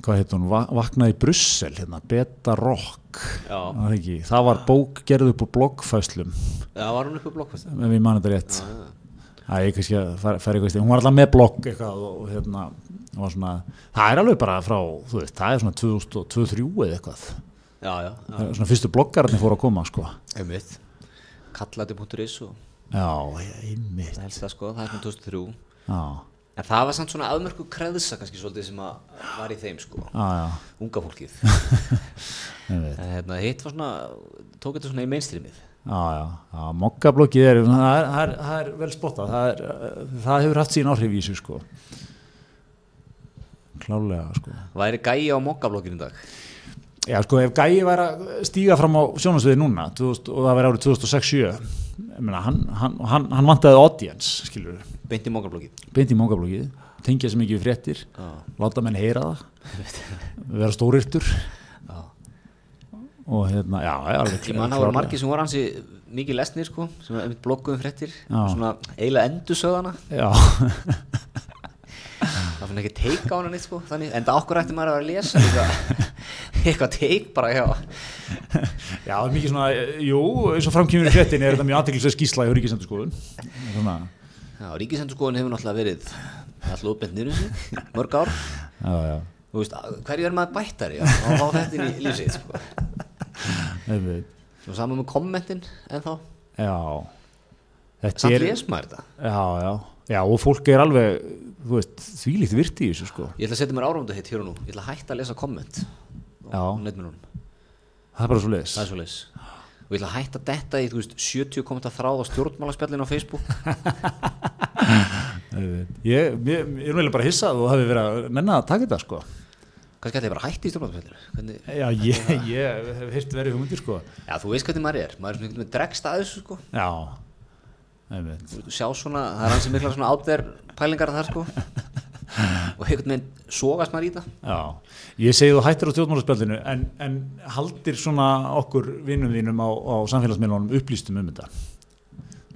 hvað heit hún, Va- vaknaði í Brussel, hérna, Beta Rock,
Já.
Var það, ekki, það var bók gerð upp úr bloggfæslum,
Já, var hún upp á blokkvæmstu?
ef ég man þetta rétt. Það er kannski að fara fara eitthvað í stíl, hún var alltaf með blogg eitthvað og og hérna, var svona, það er alveg bara frá, þú veist, það er svona 2003 eða eitthvað,
Já, já, já,
það er svona fyrstu bloggararnir fóru að koma, sko.
einmitt. Kallati.is og
Já, einmitt,
það helst það sko, það er svona 2003.
já,
En það var samt svona afmörku kreðsa kannski svolítið sem að var í þeim sko,
já, já,
unga fólkið.
einmitt.
En hérna, hitt var svona, tók þetta svona í mainstreamið.
Já, já, já mokkablokkið er, það er, það er, það er vel spottað, það, er, það hefur haft sín áhrif í þessu sko. Klálega sko.
Væri gæi á mokkablokkinu í dag?
Já sko, ef Gæi væri að stíga fram á sjónasviði núna 2000, og það væri árið 2006-07, ég meina, hann, hann, hann, hann vantaði audience, skilur við,
Beint í mokkablokkið?
beint í mokkablokkið, tengja sem ekki við fréttir,
Já,
láta menn heyra það, vera stóryrtur
já.
og hérna, já, já, alveg
Ég man það voru margir sem voru ansi mikið lesnir sko, sem einmitt blokkuðum fréttir,
Já.
svona eiginlega endusöðana,
Já,
það finn ekki teik á hana neitt sko, þannig, en það okkur ætti maður að vera að lesa líka, eitthvað teik bara hjá,
Já, það er mikið svona, eh, jú, eins og framkýmur í fréttin er þetta mjög aðteglislega skýsla í Ríkisendarskoðun. Svona,
já, ríkisendurskóðin hefur náttúrulega verið alltaf uppbent nýrum sig, mörg ár,
já, já,
þú veist, hverju er maður bættari á, á á þetta inn í lífsið sko,
einmitt.
og saman með kommentin en þá,
Já, þetta
samt
er,
les maður þetta,
já, já, já, og fólk er alveg, þú veist, þvílíkt virti í þessu, sko.
ég ætla að setja mér áramöndu hitt hér og nú, ég ætla að hætta að lesa komment
Já.
á netminnunum.
Það er bara svo leiðis.
Það er svolítið og ég ætla að hætta þetta í þú veist, 70 komenda þráð á stjórnmálaspjallin á Facebook
Ég, ég, ég er meðlega bara hissað og hafi verið að menna að taka þetta, sko.
kannski ætla ég bara að hætta í stjórnmálaspjallinu hvernig...
Já, ég, ég hef heyrt verið hugmyndir, sko.
Já, þú veist hvernig maður er, maður er svona einhvern veginn dregst að þessu sko.
Já, einmitt.
Þú sjá svona, það er hans mikla svona átver pælingar þar sko og einhvern veginn sogast maður í það
Já, ég segi þú hættir á stjórnmálaspjallinu en, en haldir svona okkur vinnum þínum á, á samfélagsmiðlunum upplýstum um þetta.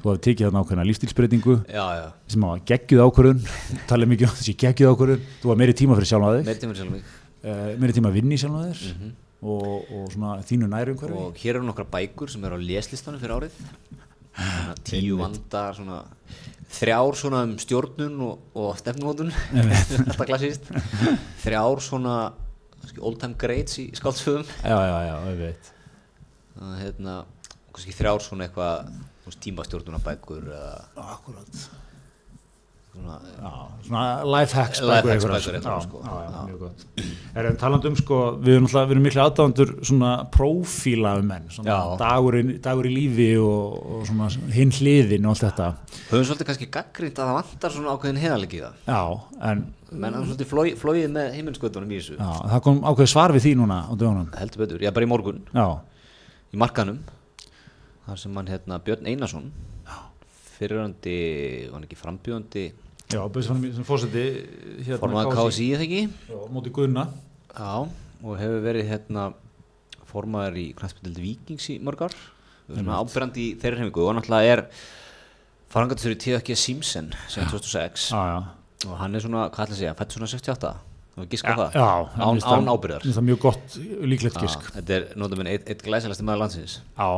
Þú hafi tekið þarna ákveðna lífstilsbreytingu
Já, já,
sem hafa geggjuð ákvörðun, talið mikið um þessi geggjuð ákvörðun, þú hafa meiri tíma fyrir sjálfa þig,
meirtíma sjálf mig
uh, meiri tíma að vinna í sjálfa þér og, og svona þínu næru umhverfi.
Mhm. og hér eru nokkra bækur sem eru á leslistanum fyrir árið svona tíu vandar svona, þrjár svona um stjórnun og, og stefnumótun alltaf klassist þrjár svona kannski, old time greats í skáldsföðum
Já, já, já, ég veit.
Þannig að, hérna, og kannski þrjár svona eitthvað þú veist, tímastjórnunabækur eða
Akkurat.
svona
Já, svona lifehacks
Lifehacks
bækur einhverjar,
bækur einhverjar, sko.
Já, já, já,
Já.
mjög gott. Er en talandum sko, við erum alltaf, við erum miklu aðdáðandur svona prófíla um menn, svona
Já.
dagur, dagur í lífi og, og svona hinn hliðin og allt þetta.
höfum svolítið kannski gaggrind að það vantar svona ákveðin heiðalegi í það
Já, en
menn hann svolítið flói, flóið með himminskvöldunum í þessu
já, það kom ákveð svar við því núna á dögunum.
heldur betur, já bara í morgun
Já,
í markanum þar sem hann hérna Björn Einarsson fyrirandi, var hann ekki frambjöndi
já, bæsfannum sem fórseti hérna
formaði KSI eða ekki
Já, móti Gunna.
já, og hefur verið hérna formaður í knæspindild Víkings í mörg ár svona ábyrrandi í þeirri hreifingu og náttúrulega er farangatur í TFG Simpson sem 2006
Já, já.
og hann er svona, hvað ætla að segja, fætt svona 68 og giska á það,
já, mér
án,
finnst það-
án
mér
ábyrðar
finnst Það er mjög gott, líklegt gisk.
þetta er nótum en eitt, eitt glæsilegasti maður landsins
Já,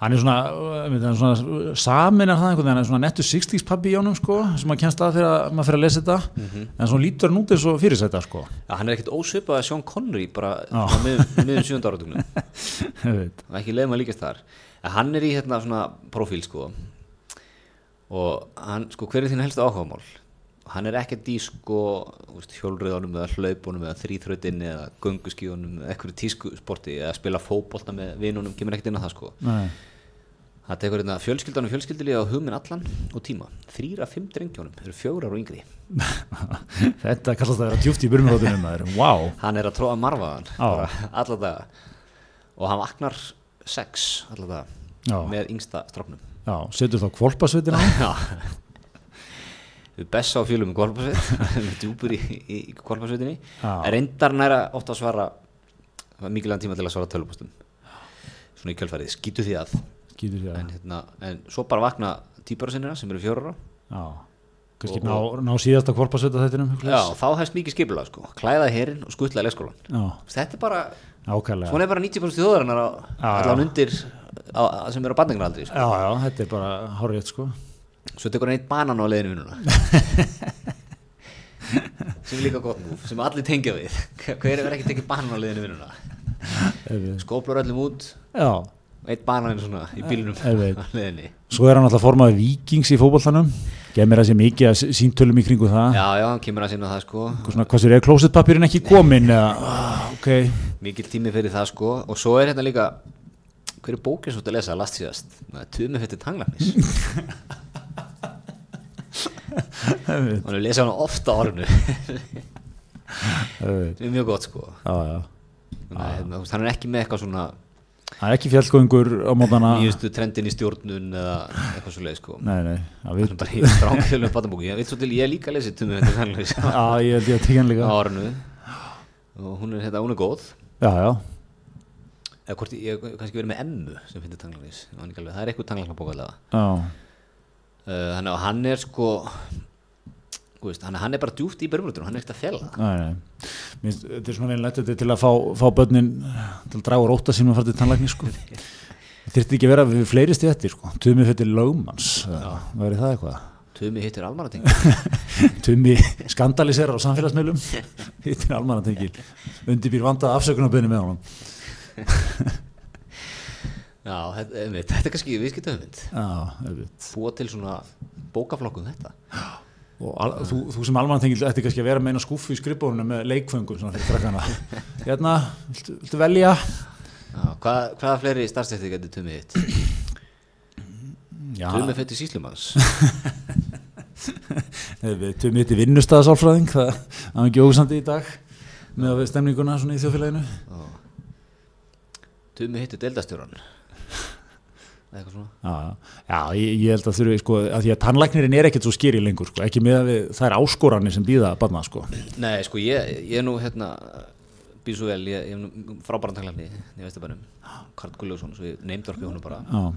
hann er svona, uh, einmitt, hann er svona saminar það einhvern veginn, hann er svona nettu 60s pabbi í honum sko, sem maður kennst að þegar maður fyrir að lesa þetta,
Mhm.
en svona lítur hann út eins og fyrirsæta sko.
Já, hann er ekkert ósvipað að Sean Connery bara
Já.
á miðum, miðum sjönda áratugnum
Ég veit.
og ekki leið maður líkast þar en hann er í hérna svona profíl sko og hann sko hver er þín helstu áhugamál og hann er ekkert í sko þú veist, hjólriðunum eða hlaupunum eða þrýþrautinni eða gunguskíunum eða eitthvað tískusporti eða spila fótbolta með vinunum kemur ekkert inn á það sko
Nei.
það tekur hérna fjölskyldanum fjölskyldilið og hugminn allan og tíma þrýra fimm drengjónum eru fjórar og yngri
þetta kallast að vera djúft í burmjóðunum maður, wow.
hann er að tróða marfaðan
Já.
alla daga og hann vaknar sex alla daga
Já.
með yngsta strafnum
Já, setur þá kvolpasvitin á.
við besta á fjölum í kvalpasveit við djúpur í, í, í kvalpasveitinni
Já.
en reyndar næra oft að svara það var mikilvæg tíma til að svara tölvupastum svona í kjölfærið, skýtu því að
Skýtur sér.
en, hérna, en svo bara vakna típara sinna sem eru fjórara
Já, kannski
Og-
ná, ná síðasta kvorpasöta þettinum
Já, þá hefst mikið skipulag sko, klæða herinn og skuttla leikskólan.
já,
Þetta er bara,
ákærlega
svona er bara 90% þjóðarinnar á,
Já,
allan
já.
undir á, á- sem eru á bandingaraldri sko.
já, já, þetta er bara horrið sko
Svo tekur hann eitt banan á leiðinu vinnuna. sem er líka gott múf, sem allir tengja við. Hver er ekki tekið banan á leiðinu vinnuna?
Ef-
Skóplur öllum út,
já,
eitt banan svona í bílunum
Ég veit.
á leiðinni.
svo er hann alltaf formaði vikings í fótboltanum geð mér að sé mikið að síntölum í kringu það
Já, já, hann kemur að sinna það sko.
Eitthvað svona, hvað sér, er klósettpapirinn ekki komin eða, ah, ok,
mikill tími fyrir það sko og svo er hérna líka hver er bókin svo til að lesa last síðast Tumi fyrir tanglafnis
Einmitt.
og hann lesa hana ofta árinu
Einmitt.
sem er mjög gott sko
já, já
Þannig
Ah.
að, hérna, þú veist, hann er ekki með eitthvað svona
það er ekki fjallgöngur á mótana
nýjustu trendin í stjórnun eða eitthvað svo leið sko
Ah. nei, nei, að
hann
við
er bara í stránkjölum batabóki ég veit svo til ég hef líka lesið Tumi fyrir tanglafnis á
já, ég held ég að tekja hann líka
sko, árinu og hún er hérna, hún er góð
já, já,
eða hvort ég, ég hef kannski verið með emmu sem finnir tanglafnis það er eitthvað tanglafnabók allavega
já,
Uh, þannig að hann er sko þú veist, hann, hann er bara djúpt í bermulutunum hann er ekkert að fjalla það.
nei, nei Minst, þetta er svona einlega þetta er til að fá, fá börnin til að draga úr óta sínum að fara til tannlækni sko. þyrfti ekki að vera við fleiri stjættir sko. tumi fyrir lögmanns það verið það eitthvað
Tumi hittir almanating
tumi skandaliserar á samfélagsmiðlum hittir almanatengil undirbýr vandaða afsökunarbyrni með honum
Já, þetta, einmitt, þetta er kannski viðskiptöfumynd
já, auðvitað
búa til svona bókaflokkum þetta
og al, þú, þú sem almannatengil ætti kannski að vera með eina skúfu í skrifbórunum með leikföngum svona fyrir krakkana hérna, viltu, viltu velja
Já, hvað, hvaða fleiri starfstætti getur Tumi hitt?
já,
Tumi fættu síslumanns
tumi hitti vinnustæðasálfræðing það það er ekki ósandi í dag með að við stemninguna svona í þjóðfélaginu
Tumi hittir deildastjóran eitthvað svona
já, já ég, ég held að þurfi sko, að því að tannlæknirinn er ekkert svo skýri lengur sko, ekki með að við, það er áskoranir sem býða að barna sko.
Nei, sko, ég, ég er nú hérna býr svo vel, ég, ég er nú frábærandanglarni í Vestabænum, Karl Gulljósson svo ég neymdorki honum bara
já,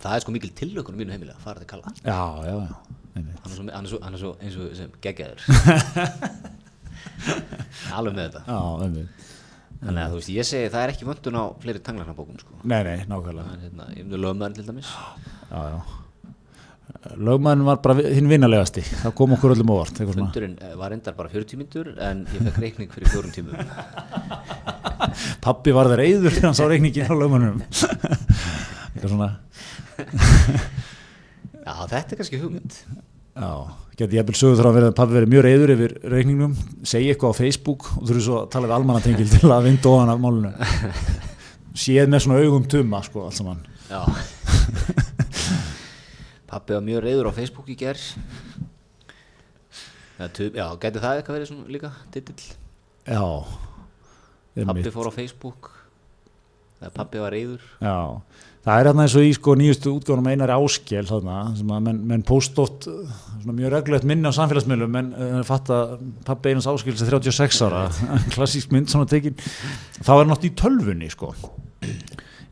það er sko mikil tilökunum mínu heimilega, fara til Kalla
já, já, já einmitt.
hann er svo, hann er svo, hann er svo eins og sem geggjaður alveg með þetta
já, einmitt.
þannig að þú veist, ég segi það er ekki vöndun á fleiri tanglarnabókum sko.
nei, nei, nákvæmlega
Hann, hérna, ég myndi lögmaðurinn til dæmis
já, já lögmaðurinn var bara vi- hinn vinnalegasti það kom okkur öllum óvart eitthvað svona.
fundurinn eh, var endar bara 40 myndur en ég fekk reikning fyrir fjórum tímum
Pappi var það reyður þegar hann sá reikningin á lögmanum eitthvað svona
já, þetta er kannski hugmynd
já, geti jafnvel sögur þrá að vera að pappi verið mjög reyður yfir reikningnum, segi eitthvað á Facebook og þurfi svo að tala við almannatengil til að vinda ofan af málunum séð með svona augum tumma sko allt saman
já pappi var mjög reyður á Facebook í gerð já, gæti það eitthvað verið svona líka titill
já,
pappi
einmitt.
fór á Facebook eða pappi var reyður
já. það er hérna eins og í sko nýjustu útgáðunum einar áskjel þarna, sem að menn, menn post oft uh, svona mjög reglulegt minni á samfélagsmiðlum en uh, fatta pappi einans áskjel sem 36 ára, klassísk mynd svona tekin, þá er hann oft í tölvunni sko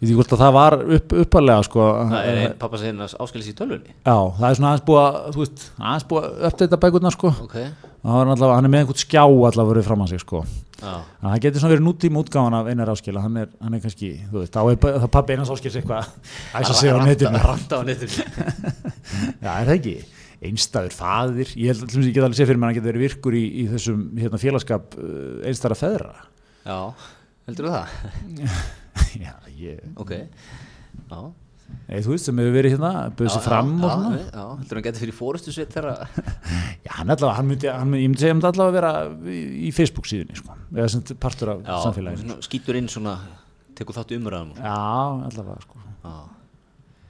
ég því hvort að það var upp, uppalega sko
það er einn pappa segir hans áskilis í tölvunni
já, það er svona aðeins búið að þú veist, aðeins búið að uppdata bækurnar sko
ok,
það var allavega, hann er með einhvern skjá allavega verið fram að sig sko
já,
Þannig að það getur svona verið nútíma útgáðan af Einar Áskil hann er, hann er kannski, þú veist, þá er pa- þá pappi Einar Áskils eitthvað að æsa sig á netinu Já,
ranta á netinu
er það ekki? Einstæður faðir, ég held að ég get alveg séð fyrir mér að hann getur verið virkur í, í þessum hérna, félagskap uh, einstæðra feðra
já, heldur þú það?
Já, ég,
ok, já
Nei, þú veist, sem hefur verið hérna bauð
Já,
sig fram
já,
og svona
já, já, heldur hann getur fyrir fórustu sveit þegar
Já, hann allavega, hann myndi, hann, ég myndi segja hann myndi allavega vera í, í Facebook síðunni, sko eða sem partur af samfélaginu sko.
svona, skýtur inn svona tekur þátt í umræðum
Já, allavega, sko
já,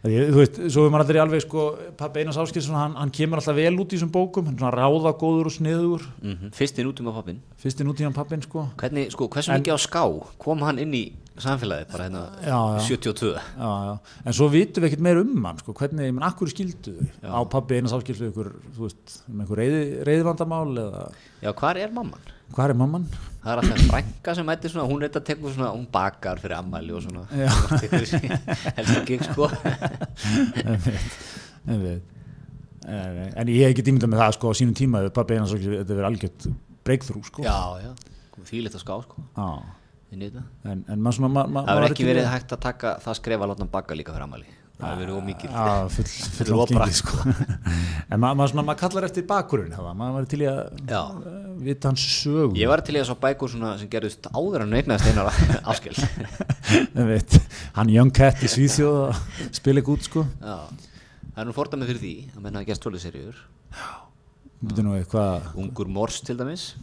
Það er- Þú veist, svo er maður aldrei alveg sko, pappi Einars Áskilsson, hann, hann kemur alltaf vel út í þessum bókum, hann er svona ráðagóður og sniður,
mm -hmm. fyrstinn út um að pappin
fyrsti nútíðan pappin sko.
hvernig, sko, hversu mikið á ská kom hann inn í samfélagið bara hérna
Já, já.
72
Já, já. En svo vitum við ekkert meir um hann, sko, hvernig, menn, akkur skildu þau? á pappi Einars Áskilsson ykkur, þú veist, um einhver reyði, reyðvandamál eða
já, hvar er mamman?
hvað er mamman?
það er alltaf frænka sem mætti svona hún reynda tekur svona, hún bakar fyrir ammæli og svona helst ekki sko
En við, en við. Eh, en ég hef ekki dýmyndað með það sko á sínum tíma ef pabbi einhans okkur, þetta verið algjört breakthrough sko
Já, já, þvílegt að ská sko
Já.
Ég nýt það.
en, en maður svona ma, ma,
Það
maður
hefur ekki
til-
verið hægt að taka það skref að láta hann bagga líka fyrir amali Það hefur verið ómikið
Já, full, full,
Full
full
opera.
gengið, sko. en ma, maður svona, maður kallar eftir bakgrunn það, maður var til í að
Já.
uh, vita hans sögu
Ég var til í þess að bækur svona sem gerðist áður en eignaðist einar afskil
Veit, hann Young Cat í Svíþjóð að spila ekki út sko
Já, það er nú fordæmi fyrir því að menna að gerst tólið seríur
Býttu nú eitthvað
Ungur Mors til dæmis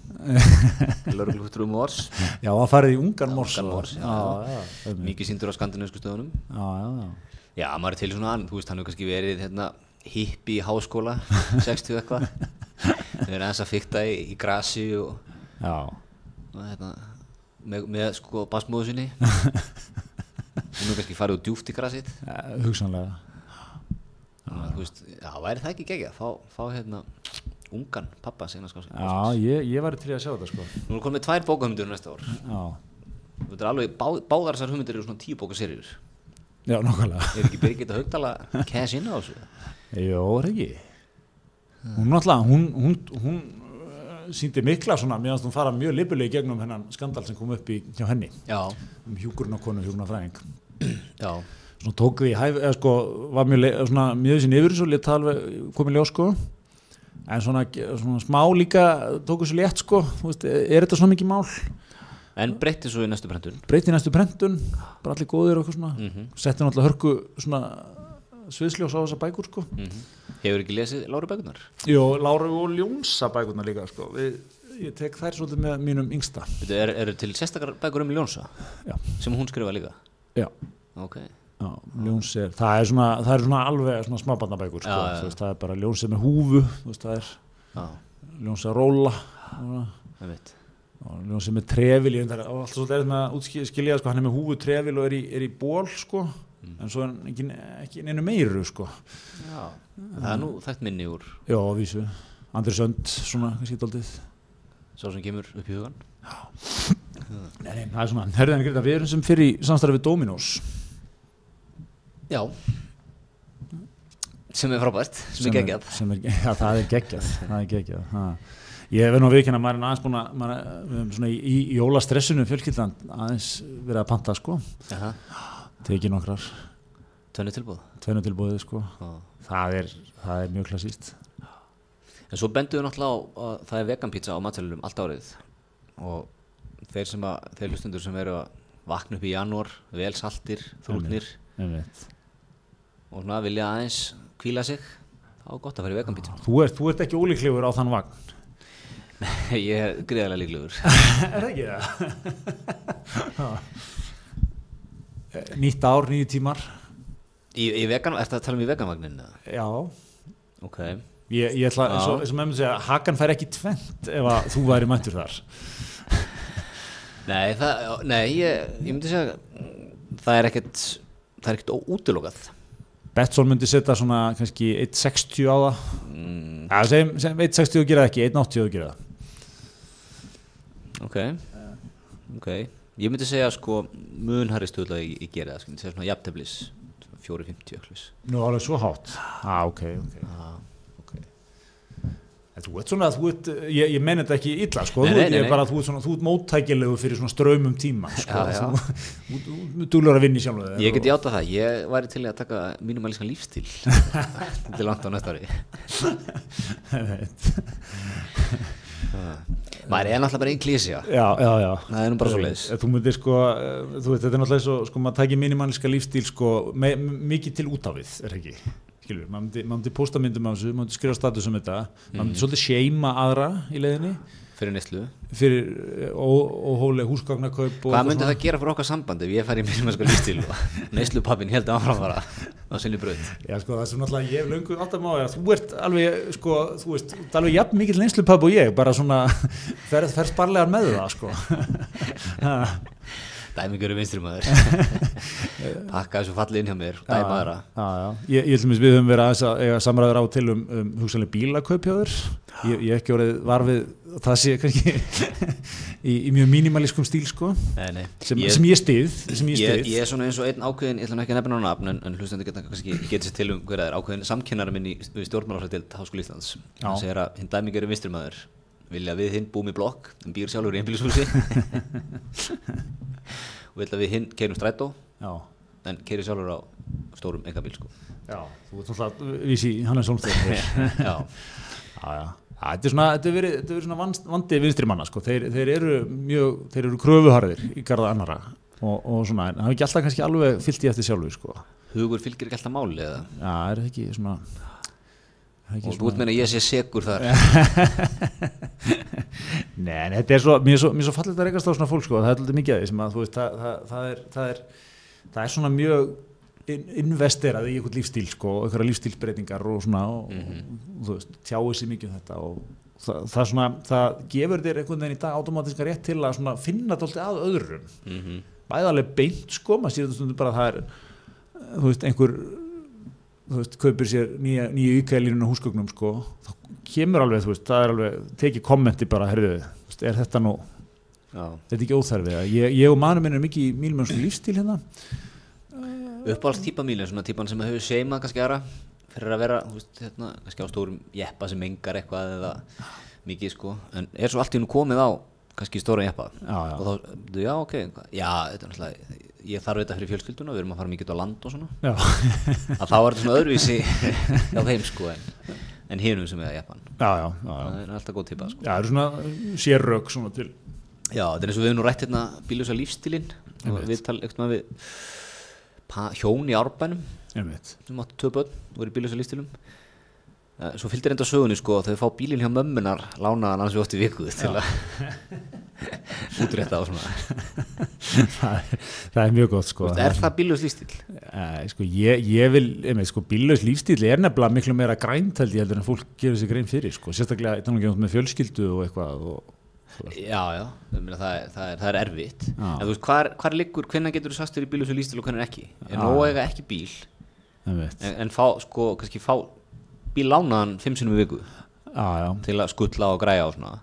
Lörglúttur um Mors
Já, að farið í ungan mors
Ungan Mors, já,
já, já, um,
Mikið síndur á skandinavísku stöðunum
já, já, já.
Já, maður er til svona ann, þú veist, hann hefur kannski verið hérna, hippi í háskóla, 60 eitthvað Við erum aðeins að fykta í, í grasi og,
Já,
og hérna, með, með sko basmóðu sinni Hún er kannski farið úr djúft í grasið
eh, hugsanlega
Þannig að, Þú veist, já, væri það ekki gegja, fá, fá hérna ungan pappa sinna sko Nú
Já, ég, ég var til í að sjá þetta sko
erum komin með tvær bókahumyndir næsta ár
Já,
Þetta er alveg, bá, báðar þessar hugmyndir eru svona tíu bókaserjur
já, nokkulega
Er ekki Birgitta Haugdala cash inn á þessu?
Jó, er ekki Hún náttúrulega, hún, hún, hún uh, síndi mikla svona, meðan hún fara mjög lipuleg í gegnum hennan skandal sem kom upp í, hjá henni
Já,
um hjúkurnakonu, hjúkurnafræðing
já,
svona tók því hæf, eða sko var mjög, le- svona, mjög sinni yfir þessu lét það alveg komið ljós sko en svona, svona smá líka tók þessu létt sko, þú veist, er þetta svona mikið mál
en breytti svo í næstu brendun
breyti næstu prentun, bara allir góðir og eitthvað svona, mm
Mhm.
setti náttúrulega hörku svona sviðsljós á þessa bækur sko
Mhm. Hefur ekki lesið Láru Bögnar?
Jó, Láru og Ljónsa bækurna líka sko. Við, ég tek þær svolítið með mínum yngsta
Þetta er, eru til sérstakar bækur um Ljónsa
Já.
sem hún skrifa líka
Já,
Ok,
já Ljóns er, það er svona, það er svona alveg svona smábarnabækur sko.
Já, já, já.
Þú veist, það er bara Ljóns er með húfu þú veist, það er
já,
Ljóns er róla svona.
það veit
og Ljón sem er trefil ég reyndar- og allt svolítið er með að skilja sko, hann er með húfu trefil og er í, er í ból sko, en svo er hann ekki, ekki neinu meiru sko.
Já, það er nú þekkt minni úr
Já, að vísu, Andri Sönd svona, kannski daldið
sá sem kemur upp í hugan
Nei, nei, það er svona, herðið en greita, við erum sem fyrir samstarfið Dominós
Já sem er frábært, sem, er geggjað
sem er, já, það er geggjað, það er geggjað ha. ég verð nú að viðkynna maður er nú aðeins búin að maður, er- við höfum svona í, í jólastressinu fjölskyldan aðeins verið að panta sko
Aha,
tekið nokkrar
Tvenni tilbúð
tvennu tilbúið sko
Já.
það er, það er mjög klassíst
En svo bendu við náttúrulega á að það er veganpizza á matselunum allt árið og þeir sem að, þeir hlustundur sem eru að vakna upp í janúar, vel saltir, þrútnir
Einmitt.
og svona vilja aðeins kvíla sig, þá er gott að fara í veganpizza.
þú ert, þú ert ekki ólíklegur á þann vagn
Ég er greiðarlega líklegur.
er það ekki það Eh, nýtt ár, nýju tímar
Í, í vegan, ertu að tala um í veganvagninu? eða?
já
Ok,
ég, ég ætla,
Já.
eins og, eins og mömmu segja hakan fær ekki tvent ef að þú væri mættur þar
nei, það, nei ég, ég myndi segja mm, það er ekkert, það er ekkert ó- útilokað.
Betsson myndi setja svona kannski 1.60 á það mm. ja, segjum, segjum 1.60 og gera það ekki, 1.80 og gera það
Ok, ok, ég myndi segja sko munharri stöðla ég, ég gera það, sko, ég myndi segja svona jafnteflis, svona 4.50 öklis.
Nú alveg svo hátt ah, ok, ok, ok En Þú ert svona, þú ert, ég, ég meni þetta ekki illa sko,
Nei,
þú,
nei,
ég
nei,
er bara, þú ert svona, þú ert móttækilegu fyrir svona strömmum tíma sko,
Já, já.
þú, þú, þú, þú duglur að vinna í sjálfu þér
Ég
og-
get játa það, ég væri til í að taka mínumæliskan lífstíl til langt á næsta ári
Ah.
Maður er náttúrulega bara einn klísja
Já, já, já
Það er nú bara svoleiðis.
Þú myndir sko, eh, þú veit, þetta er náttúrulega svo, sko, maður tækir minimanniska lífstíl sko, me, m- mikið til út á við, er ekki skilur, maður myndi, maður myndi posta myndum af þessu maður myndi skrifa status um þetta, maður
Mhm.
myndi svolítið seima aðra í leiðinni
fyrir neyslu
fyrir eh, ó- óhófleg húsgagnakaup og
Hvað
eitthvað
myndi
svona.
það gera fyrir okkar samband ef ég fær í mínumæliskan lífstíl og neyslu pappin held áfram bara á sinni braut
Já, sko, það sem náttúrulega ég hef löngu áttam á er að þú ert alveg, sko, þú veist, þú ert alveg jafn mikill neynslupapp og ég, bara svona ferð fer sparlegar með það, sko. Ha,
dæmingur um vinstri maður pakka þessu falli inn hjá mér
Ah.
dæma þeirra
Já, já. Ég, ég ætlum að við höfum verið aðeins að eiga samræður á til um, um hugsanlega bílakaupjóður ég, ég hef ekki orðið varfið það sé kannski í, í mjög mínimalískum stíl sko
nei, nei.
sem
ég,
ég, sem ég stið, sem ég
ég,
stið.
ég er svona eins og einn ákveðin ég ætla nú ekki að nefna hann nafn en, en hlustandi geta kannski getur sér til um hverja það er ákveðin samkennari minn í stjórnmálafrættild Háskóli Íslands
Já.
hann segir að hinn dæmingur er vinstri maður vilja við hinn búum í blokk en býr sjálfur í einbílishúsi og vilja við hinn keirum strætó
Já,
en keiri sjálfur á stórum engabíl sko
já, þú ert náttúrulega vísi í Hannes Holmstöður
já,
Já, já. Já, þetta er svona, þetta er verið, þetta er verið svona vanst- vandi vinstri manna, sko. Þeir, þeir eru mjög, þeir eru kröfuharðir í garða annara og, og svona, en hafa ekki alltaf kannski alveg fyllt í eftir sjálfu, sko.
hugur fylgir ekki alltaf máli eða
Já, það er það ekki svona, er það
og
ekki
þú ert meina ég sé segur þar
Nei, en þetta er svo, mér er svo, mér er svo fallið að rekast á svona fólk, sko. Það er alltaf mikið að því sem að, þú veist, það, það, það, er, það, er, það er svona mjög in- investerað í einhvern lífstíl, sko, og einhverja lífstílsbreytingar og svona, og, og, þú veist, tjáið sér mikið um þetta og það, það, svona, það gefur þér einhvern veginn í dag automatiska rétt til að svona finna dálítið að öðrum.
mm
bæði alveg beint sko, maður sér þetta stundum bara að það er þú veist, einhver þú veist, kaupir sér nýja, nýju ykkailinu húsgögnum sko, þá kemur alveg þú veist, það er alveg, tekið kommenti bara herðu, þú veist, er þetta nú
já.
þetta er ekki óþarfið, ég, ég og manum minn er mikið í mínum eins og lífstíl hérna
uppáhalds típa mín er svona típan sem hefur seimað kannski aðra fyrir að vera þú veist, hérna, kannski á stórum jeppa sem engar eitthvað eða mikið sko en er svo allt í hún komið á kannski stóra jeppa
Já, já.
og þá, já ok hvað- já, þetta er náttúrulega, ég þarf þetta fyrir fjölskylduna við erum að fara mikið út á land og svona
já,
að þá er þetta svona öðruvísi á þeim sko en, en hinum sem er að jeppan
já, já, já, já.
það er alltaf góð típa sko
Já, það eru svona sérrök svona til
Já, þetta er eins og við höfum nú rætt hérna bíljósa lífstílinn og við tala eitthvað við pa, hjón í árbænum
einmitt,
sem áttu tvö börn og voru í bíljósa lífstílum Eh, Svo fylgdi reynda sögunni sko að þau fá bílinn hjá mömmunar lánaðan hans við ótti viku til að útrétta á svona
það, er, það er mjög gott sko
Vist, Er það bíljós lífstíl?
Eh, sko, ég, ég vil, einmitt, sko, bíllaus lífstíli er nefnilega miklu meira grænt held ég heldur en fólk gerur sér grein fyrir, sko, sérstaklega í tannlega með fjölskyldu og eitthvað og,
Já, já, ég meina, það, er, það, er, það er erfitt
Já.
En þú veist, hvar, hvar liggur, hvenær getur þú sastur í bíljósa lífstíl og hvernig ekki? Er nóg að eiga ekki bíl
einmitt,
en, en fá, sko, kannski fá bíl lánaðan fimm sinum í viku
á, já,
til að skuttla og græja og svona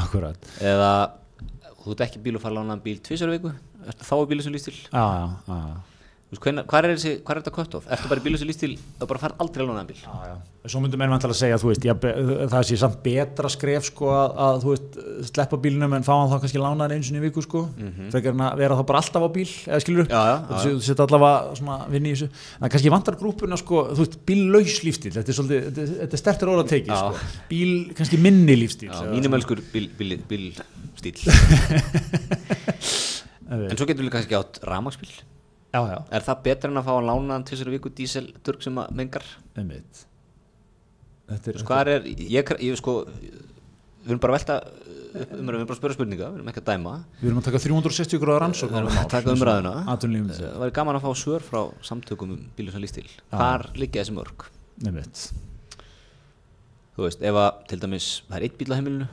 akkurat,
eða þú ert ekki bíl og fara að lána bíl tvisar viku ertu þá í bílu sem lístil
á, já, á, já.
hvað er, þessi, hvar er þetta kött of? Ertu bara í bílu sem lístil og bara fara aldrei að lána bíl?
Já, já. Svo myndum menn vantilega að segja, þú veist, já, be- það sé samt betra skref sko að, að þú veist, sleppa bílnum en fá hann þá kannski lánaðan eins og í viku sko, frekar en að vera þá bara alltaf á bíl, eða skilur,
Já, já, já,
þú setja allavega svona vinn í þessu, en kannski vantar grúpuna sko, þú veist, bíllaus lífstíl, þetta er svolítið, þetta er, þetta er stertur orð að
Já.
teki sko, bíl, kannski minni lífstíl.
Já,
eða-
mínumölskur bíl, bíl, bílstíl
Ef við-
en svo getur við kannski átt ramagsbíl
Já, já,
er það betra en að fá að lána hann tvisar viku dísel dörg sem að mengar?
einmitt. Þetta er,
Þú veist, hvað er, ég, ég sko við erum bara að velta upp umræðum, við erum bara að spyrja spurninga við erum ekki að dæma
við erum að taka 360 gráða rannsókn.
við erum að taka umræðuna
Atunlífum
það væri gaman að fá svör frá samtökum um bílu sem lístil hvar liggja þessi mörg?
einmitt.
þú veist, ef að til dæmis það er eitt bíl á heimilinu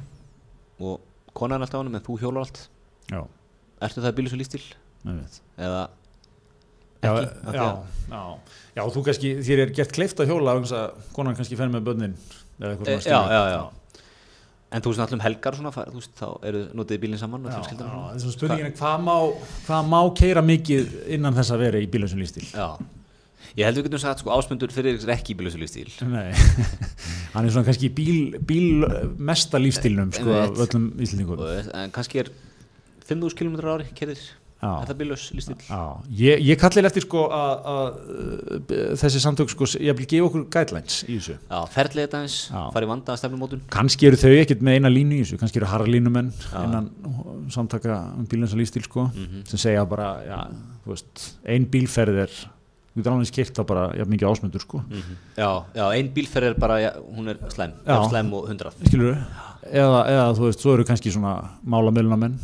og konan er alltaf á hann en þú hjólar allt
Já,
ertu það bílu svo lístil?
einmitt.
eða
Já,
Ekki, af því
já,
að-
já, já, þú kannski, þér er gert kleift að hjóla vegna þess að konan kannski fer með börnin eða eitthvað
e, já,
svona skilur.
já, já en þú veist náttúrulega um helgar og svona, far- þú veist, þá eru notiði bílinn saman og
Já, já,
fjölskyldan
það er svona spurningin er hvað má, hvað má keira mikið innan þess að vera í bílömsum lífstíl
já, ég held við getum sagt sko ásmundur fyrir ykkur ekki í bílu svo lístil
Nei, hann er svona kannski í bíl, bíl mesta lífstílnum sko
Einmitt.
af öllum íslendingum
en kannski er 5.000 km ári kerðir,
Já.
er það bílu svo lístil
Já, ég, ég kallir eftir sko að að, uh, þessi samtök sko, ég vil gefa okkur guidelines í þessu
já, ferðlega þetta eins,
Já.
fara í vanda að stefnumótun
kannski eru þau ekkert með eina línu í þessu kannski eru harralínumenn
Já. Mhm.
innan samtaka um bílins og lífstíl sko, sem segja bara já, þú veist, ein bílferð er þú getur alveg skipt þá bara jafn mikið ásmöndur sko.
já, já, ein bílferð er bara, já, hún er slæm
Já.
já. slæm og 100
skilur eða, eða þú veist, svo eru kannski svona málamölunamenn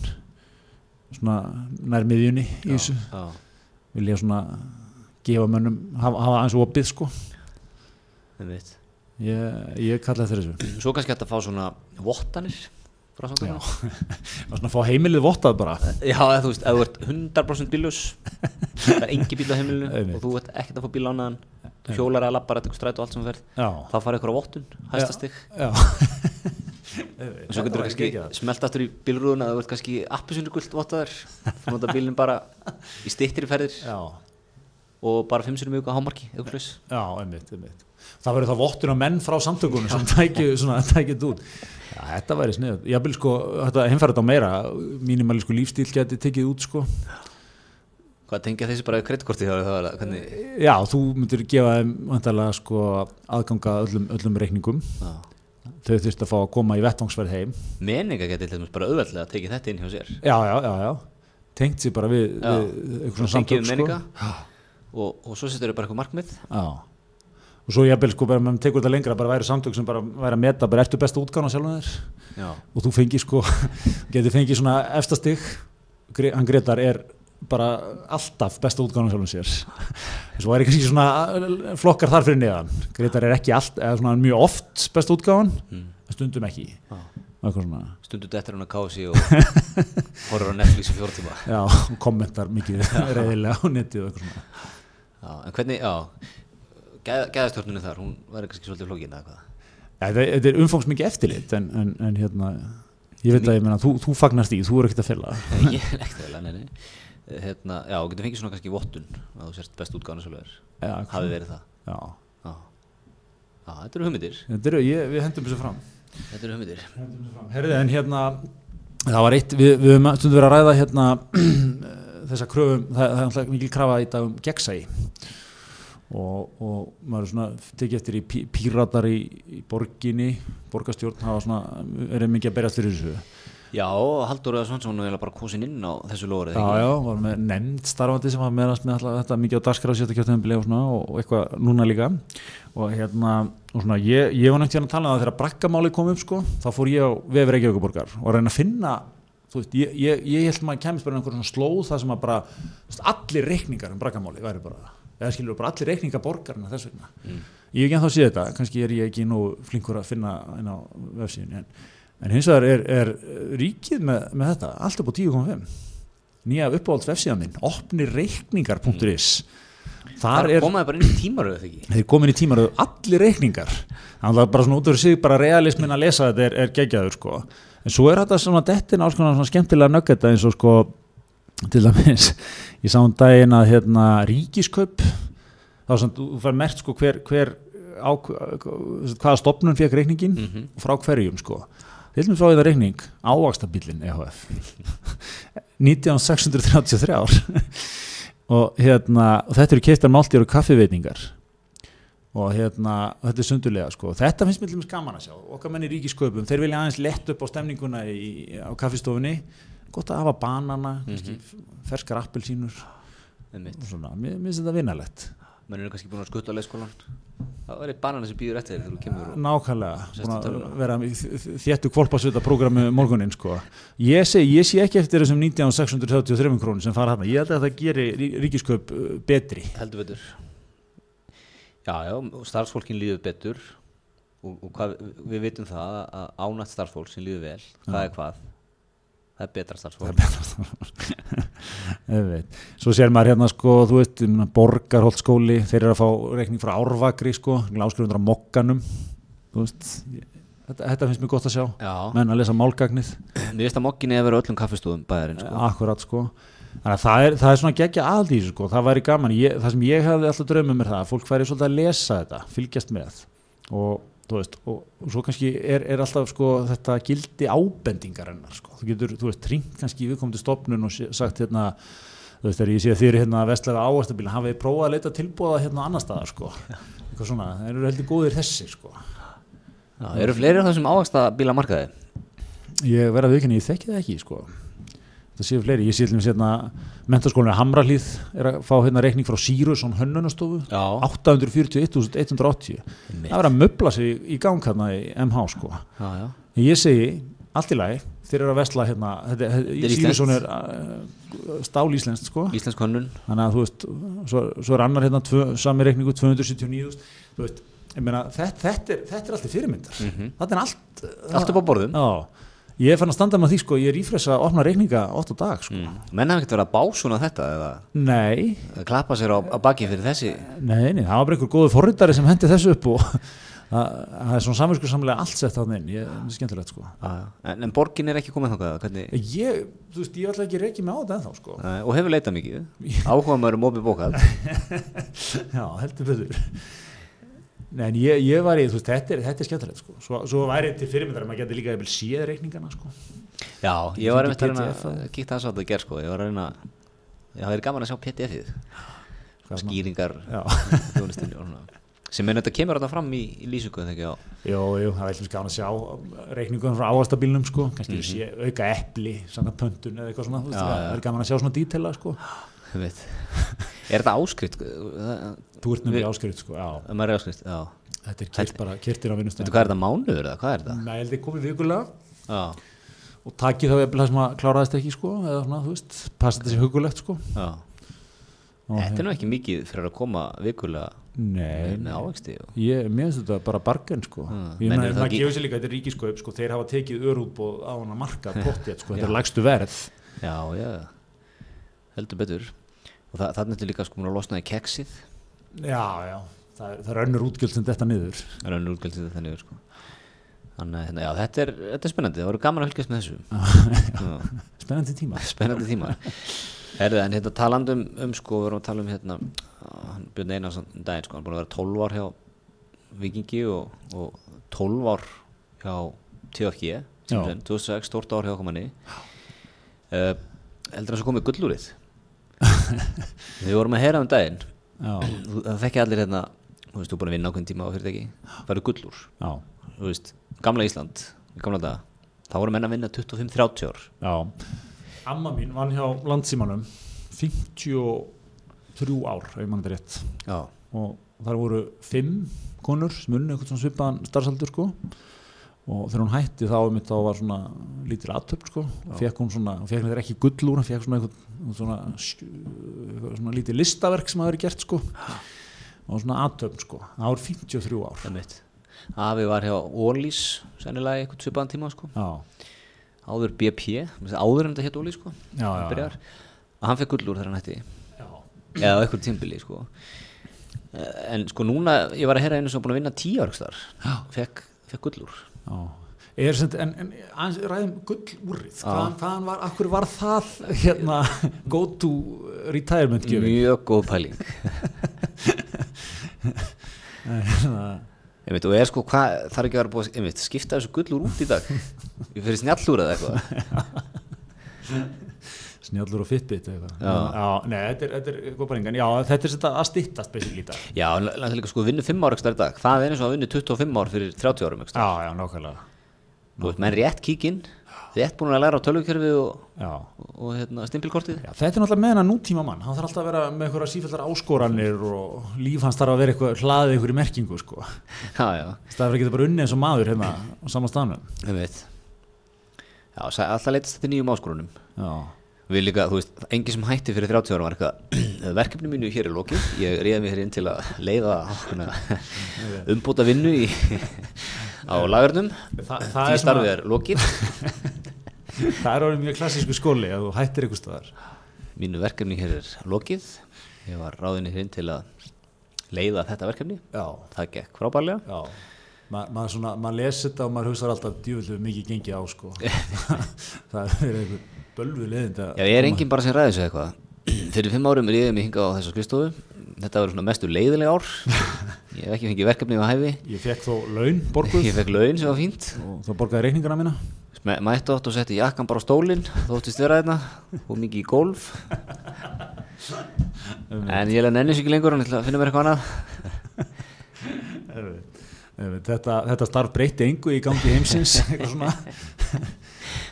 svona nærmiðjunni í þessu
já.
vilja svona gefa mönnum, hafa, hafa aðeins opið sko
einmitt.
ég, ég kalla eftir þessu
Svo kannski hægt að fá svona vottanir frá
Já.
samtökunum
var svona að fá heimilið vottað bara
Já, eða þú veist, ef þú ert 100% bílus það er engi bíl á heimilinu
Einmitt.
og þú ert ekkert að fá bíl ánaðan þú hjólar eða lappar eitthvað stræt og allt sem þú ferð
Já,
þá farið ykkur á vottun, hæstastig
já
og svo getur þú kannski smeltastur í bílrúðuna eða þú ert kannski appisundugult vottaður þú nota bílinn bara í stittir ferðir
Já,
og bara 5 sinni mjög á hámarki, eitthvað slags
já, einmitt, einmitt Það verður þá vottun á menn frá samtökunum sem tækju, svona, tækju þetta út Já, þetta væri snið Ég vil sko, þetta heimfæra þetta á meira mínimalísku lífstíl geti tekið út sko
Hvað tengja þessi bara kreddkorti þá? þá er það- Hvernig?
Já, þú myndir gefa þeim vantarlega sko aðganga að öllum, öllum reikningum
Já.
þau þurft að fá að koma í vettvangsverð heim
Meninga geti til dæmis bara auðveldlega að tekið þetta inn hjá sér
Já, já, já, já tengt sér bara við,
Já.
við eitthvað svona
Tengið við
samtök sko.
meninga og, og svo setur þau bara eitthvað markmið
Já og svo jafnvel sko bara ef maður tekur þetta lengra bara væri samtök sem bara væri að meta bara ertu besta útgána sjálfum þér
Já.
og þú fengir sko getur fengið svona efstastig hann Gretar er bara alltaf besta útgána sjálfum sér en svo væri kannski svona eh, flokkar þar fyrir neðan Gretar er ekki allt eða svona mjög oft besta útgáðan
Mm.
en stundum ekki
Já.
Og eitthvað svona
Stundu dettur hún að kási og horfur á Netflix í fjórtíma
Já, og kommentar mikið reyðilega á netið og eitthvað svona.
Já, en hvernig, já, geð, geðastjórnunni þar, hún væri kannski svolítið flókin eða hvað
Ja, þetta þetta er umfangsmikið eftirlit en, en, en hérna, ég veit að ég meina, þú, þú fagnast því, þú eru ekkert að fela.
Nei, Ég er ekkert vel, nei, nei Hérna, já, hún getur fengið svona kannski vottun að þú sért best útgáðan svo leður
Já, eitthvað
hafi
svona.
verið það
Já,
Já, já þetta eru hugmyndir
þetta eru, ég, við hendum þessu fram.
Þetta eru hugmyndir
Herðið, en hérna, það var eitt, við, við höfum stundum verið að ræða hérna þessa kröfum, það, það er alltaf mikil krafa í dag um gegnsæi og, og maður er svona tekið eftir í pí, píratar í, í borginni, borgarstjórn hafa svona, er mikið að berjast fyrir þessu.
Já, Haldur Eða Svansson er eiginlega bara kosin inn á þessu lofur
Já, já, var með nefnd starfandi sem var meðast með alltaf þetta mikið á dagskráð sérta kjáttumömbili og svona og, og eitthvað núna líka og hérna, og svona ég, ég var nefnt hérna að tala um það þegar brakkamáli kom upp sko, þá fór ég á vefur Reykjavíkuborgar og að reyna að finna þú veist, ég, ég, ég held maður að kemist bara einhver svona slóð það sem að bara, þú veist, allir reikningar um brakkamáli væri bara, eða skilur bara allir reikningar borgarna þess vegna ég hef ekki ennþá séð þetta, kannski er ég ekki nú flinkur að finna inn á vefsíðin en, en hins vegar er, er ríkið með, með þetta, allt upp á 10.5 nýja uppáhalds vefsíðan minn opnireikningar.is
Þar
þar er
komaði bara inn í tímaröðu þegar ekki
þeir komin í tímaröðu allir reikningar þannig að bara svona út af sig bara realismin að lesa þetta er, er geggjaður sko en svo er þetta svona dettin alls konar svona skemmtilega nöggeta eins og sko til dæmis, ég sá um daginn að hérna ríkiskaup þá sem þú þú fær mert sko hver, hver á, hvaða stopnun fekk reikningin og frá hverjum sko til dæmis fá ég það reikning E ávakstabillin EHF 1933 og hérna og þetta eru keiftar máltíður og kaffiveitingar og hérna, og þetta er sundurlega sko. þetta finnst mér til dæmis gaman að sjá okkar menn í ríkisköpum, þeir vilja aðeins lett upp á stemninguna í, á kaffistofunni gott að hafa banana
Mhm.
kannski ferskar appelsínur
Einmitt.
og svona, mér mér finnst þetta vinnalegt
Menn eru kannski búin að skutta á leikskólan Það er eitt banana sem býður eftir þér þegar þú kemur og...
nákvæmlega,
Sestu
búin að
tölvuna.
vera í þ- þ- þéttu kvolpasvita prógrami morgunin sko. ég, sé, ég sé ekki eftir þessum 19.633 krónum sem fara hérna ég held að það geri rí- ríkisköp uh, betri
Heldur betur Já, já, og starfsfólkin líður betur og, og hvað, við vitum það að ánætt starfsfólk sem líður vel hvað er hvað það er betra starfsfólk
Ég veit. Svo sér maður hérna sko, þú veist, ég meina, borgarholtskóli, þeir eru að fá reikning frá Árvakri sko, áskrifundar á Mokkanum, þú veist, ég- þetta, þetta finnst mér gott að sjá,
Já,
menn að lesa málgagnið,
mér veist að mokkinni hefur verið á öllum kaffistúðum bæðarinn sko.
akkurat sko. Þannig að það er, það er svona geggja aðald í þessu sko, það væri gaman, ég, það sem ég hefði alltaf draumum er það að fólk væri svolítið að lesa þetta, fylgjast með og þú veist, og, og svo kannski er, er alltaf sko þetta gildi ábendingarinnar sko, þú getur, þú veist, tringt kannski í viðkomandi stopnun og sé- sagt hérna þú veist, þegar ég sé að þið eru hérna vestlega áastabíla hafið þið prófað að leita tilbúða hérna annar staðar sko, eitthvað svona, þeir eru heldur góðir þessi sko,
Já, eru fleiri af þessum ávægsta bílamarkaði
ég verða viðkynni, ég þekki það ekki sko, það séu fleiri ég sé allir hérna, mentaskólinu Hamralíð er að fá hérna reikning frá Sirius on hönnunastofu,
Já,
841.180
Einmitt.
það verður að möbla sig í- í gang hérna í MH sko,
já, já
En ég segi allt í lagi, þeir eru að vestla hérna, þetta,
er
þetta,
íslenskt.
Sirius on er uh, stál íslenskt sko
Íslensk hönnun
þannig að þú veist svo, svo er annar hérna tvö, sami reikningu 279 þú veist, ég meina þetta, þetta, er, þetta er alltaf fyrirmyndar
Mhm.
þetta er allt
Allt upp á borðum
á, ég er fann að standa með því sko, ég er ífressa að opna reikninga 8 dag sko.
Mm. Menn hafa ekkert verið að básuna þetta eða
Nei,
að klappa sér á, á baki fyrir þessi
nei, nei, það var bara einhver góðu forritari sem hendi þessu upp og það það er svona samvinsku samlega allt sett þarna inn, ég, það er skemmtilegt sko.
ah, en, en borgin er ekki komið þangað hvernig,
Ég, þú veist, ég ætla ekki reikið með á þetta ennþá sko.
uh, og hefur leitað mikið áhuga maður um opið bókað
Já, heldur betur. Nei, en ég, ég var í, þú veist, þetta er, þetta er skemmtilegt sko. Svo, svo væri til fyrirmyndar að maður geti líka jafnvel séð reikningana sko.
já, ég var einmitt að reyna
PDF
að kíkta þess að það ger sko, ég var að reyna já, það er gaman að sjá PDF-ið
Gaman.
skýringar
Já.
þjónustunni og svona. sem er þetta kemur þetta fram í, í lýsingu þegar ekki á
Jú, jú, það er eitthvað gaman að sjá um, reikningum frá ávastabilnum sko, kannski mm sé auka epli, samkvæmt pöntun eða eitthvað svona, þú veist,
Mhm. Já,
það
já.
er gaman að sjá svona dítela sko.
Ég veit. er þetta áskrift það
Þú ert nefnilega áskrift sko, já,
um er áskrift, já
þetta er kyrt bara, kyrtir á
veitu
vinnustöðum.
hvað er þetta mánuður eða hvað er þetta
Nei, heldur komið vikulega
já,
og takið þá eða það sem að kláraðist ekki sko, eða svona, þú veist, passa þetta sér hugulegt sko.
já
Og,
þetta er nú ekki mikið fyrir að koma vikulega
Nei,
með ávegsti og
ég, mér finnst þetta bara bargen sko.
Mm,
Ég
menn
meina,
eru þá
það
ekki-
gefur sér líka, þetta er ríkiskaup sko, þeir hafa tekið örúbóð á hana marka pottjætt sko, þetta er lægstu verð.
Já, já, heldur betur og þa þannig er líka sko mér að losna í keksið
Já, já, það, er- það er önnur útgjöld sem þetta niður.
það er önnur útgjöld þetta niður sko þannig, að, hérna, já, þetta er, þetta er spennandi, það voru gaman að fylgjast með þessu já,
Spennandi tíma.
spennandi tíma Herðu, en hérna talandum um sko, við vorum að tala um hérna hann Björn Einarsson um daginn sko, hann er búin að vera 12 ár hjá Vikingi og, og 12 ár hjá TFG
Já.
sem sinn, 2006, stórt ár hjá komanni uh, heldur hann svo komið gullúrið við vorum að heyra um daginn
Já,
Þú- það fekkja allir hérna þú veist, þú er búin að vinna ákveðin tíma á fyrirtæki færu gullur,
já,
þú veist, gamla Ísland í gamla daga, þá voru menn að vinna 25-30 ár,
já. Amma mín vann hjá landsímanum 53 ár, ef mann þetta rétt.
já,
Og þar voru fimm konur sem unni eitthvað svona svipaðan starfsaldur sko. Og þegar hún hætti þá, einmitt, þá var svona lítil aðtöp sko. Og fekk hún svona, hún fekk þetta ekki gull úr, hún fekk svona eitthvað svona, svona, svona lítið listaverk sem hafa verið gert sko. Og svona aðtöp sko. Það voru 53 ár.
það mitt afi var hjá Ólís sennilega í eitthvað svipaðan tíma sko
Já,
áður BP, mér finnst áður en þetta hétt Ólís sko
Já, já, já.
byrjar, að hann fekk gullur þegar hann hætti
já.
eða á eitthvað tímbili sko Eh, en sko núna, ég var að heyra einu sem var búin að vinna 10 ár þar, fekk, fekk gullur
Já, er sem, en, en aðeins ræðum gullúrið, hvaðan, hvaðan var, akkur var það hérna go to retirement gjöfing?
mjög góð pæling
já,
Einmitt, og er sko, hvað þarf ekki að vera búið að einmitt, skipta þessu gullur út í dag ég fyrir snjallúr eða eitthvað
snjallur og fitbit eða eitthvað.
Já.
já nei, þetta er, þetta er góð bæringan, já, þetta er þetta að stittast basically í dag.
já, en náttúrulega líka sko, vinnu 5 ár ekstra í dag hvað er eins og að vinnu 25 ár fyrir 30 árum ekstra
Já, já, nákvæmlega,
þú veist, menn rétt kíkinn, rétt búin að læra á tölvukjörfið og,
já.
og hérna, stimpilkortið
Já, þetta er náttúrulega með hennar nútíma mann, hann þarf alltaf að vera með einhverja sífældar áskoranir og líf hans þarf að vera eitthvað hlaðið einhverju merkingu sko.
já, já,
Það er ekki bara unnið eins og maður hérna á sama stanum.
einmitt já, sa- alltaf leitast þetta nýjum áskorunum
Já,
við líka, þú veist, engin sem hætti fyrir 30 árum var eitthvað, verkefni mínu hér er lokið ég reyði mig hér inn til að leiða umbúta vinnu í, á lagurnum
Þa- það er
því
svona-
starfið er lokið
það er orðin mjög klassísku skóli að þú hættir einhver staðar.
mínu verkefni hér er lokið ég var ráðinni hér inn til að leiða þetta verkefni
Já.
það gekk frábærlega
Já, Ma, maður, svona, maður les þetta og maður hugsaður alltaf djúvillu mikið gengið á sko. það er einhver bölvu leðind
Já, ég er enginn bara sem ræði sig eitthvað Fyrir fimm árum er ég mig hingað á þessa skrifstofu Þetta verður svona mestu leiðilega ár Ég hef ekki fengið verkefni á hæfi
ég fekk þó laun borguð
Ég fekk laun sem var fínt
og þá borgaði reikningana mína
Sme- Mættu átt og setti jakkan bara á stólinn Þóttist vera þarna Og mikið í golf En ég lenni ennis ekki lengur Þannig að finna mér eitthvað annað
þetta, þetta starf breytti engu í gangi heimsins eitthvað svona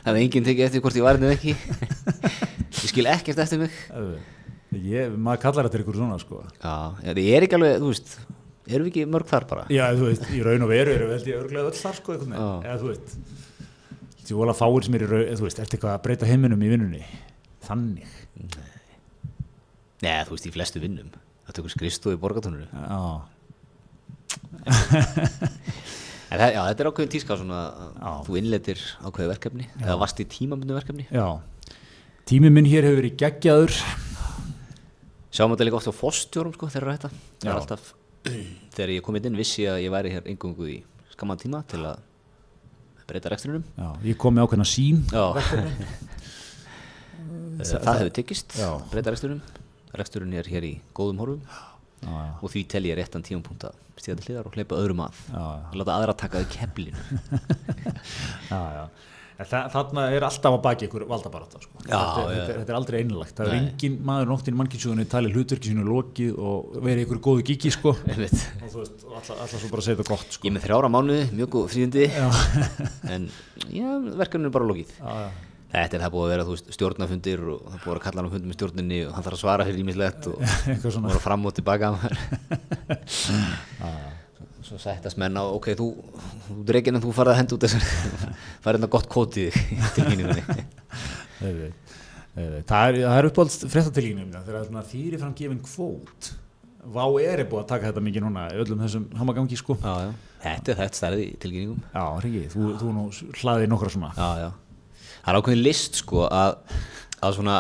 Það er enginn tekið eftir hvort ég var hérna eða ekki Ég skil ekkert eftir mig
ég, maður kallar þetta ykkur svona sko.
Já, ég ég er ekki alveg, þú veist Erum við ekki mörg þar bara?
já, þú veist, í raun og veru eru held ég örglega öll þar sko, einhvern veginn,
Já.
eða þú veist þú vola fáir sem er í raun, eða, þú veist, eftir eitthvað að breyta heiminum í vinnunni þannig
Nei, þú veist, í flestu vinnum Það tekur skrifstofu í borgatónunum
Já
En það- já, þetta er ákveðin tíska svona
Já.
að þú innletir ákveði verkefni eða vast í tímabundu verkefni
já, tími minn hér hefur verið geggjaður
Sjáum þetta líka oft á fórstjórum sko þegar þetta Það er
Já.
alltaf Þegar ég kom inn vissi ég að ég væri hér engungu í skamman tíma til að breyta rekstrinum
já, ég kom með ákveðna sín
Já Það, það hefur tekist
Já.
breyta reksturum Reksturinn er hér í góðum horfum
já, já,
og því tel ég réttan tíumpunkt að stíða til hliðar og hleypa öðrum að
Já, já.
að láta aðra taka þau keflinu
já, já. En Þa, þarna er alltaf að baki ykkur valdabarátta sko.
Já,
þetta, er-
já.
þetta, er- þetta er aldrei einlægt það er engin maður nóttin mannkynsugunni talið hlutverki sínu lokið og verið ykkur góðu gigi sko. og
Einmitt.
þú veist, og alltaf, alltaf svo bara að segja þetta gott
Ég
sko.
er með þrjára mánuði, mjög góð fríðindi en já, verkefninu er bara lókið
já, já.
Þetta er það búið að vera þú veist, stjórnafundir og það er búið að vera að kalla hann á fundum í stjórninni og hann þarf að svara fyrir ímislegt og
eitthvað svona
voru fram og tilbaka Svo sættast menn á, ok, þú, þú dreginn en þú farið að henda út þessar farið hérna gott kótið til mínuðinni
Auðvitað, auðvitað. Það er, það er uppáhalds fréttatilgjum þegar það er svona þýri fram gefin kvót Vá er er búið að taka þetta mikið núna í öllum þessum hamagangi sko Já,
Þetta er þetta stærði í tilkynningum
Riki, þú, þú nú hlaðið nokkra svona
já, já. það er ákveðin list sko að, að svona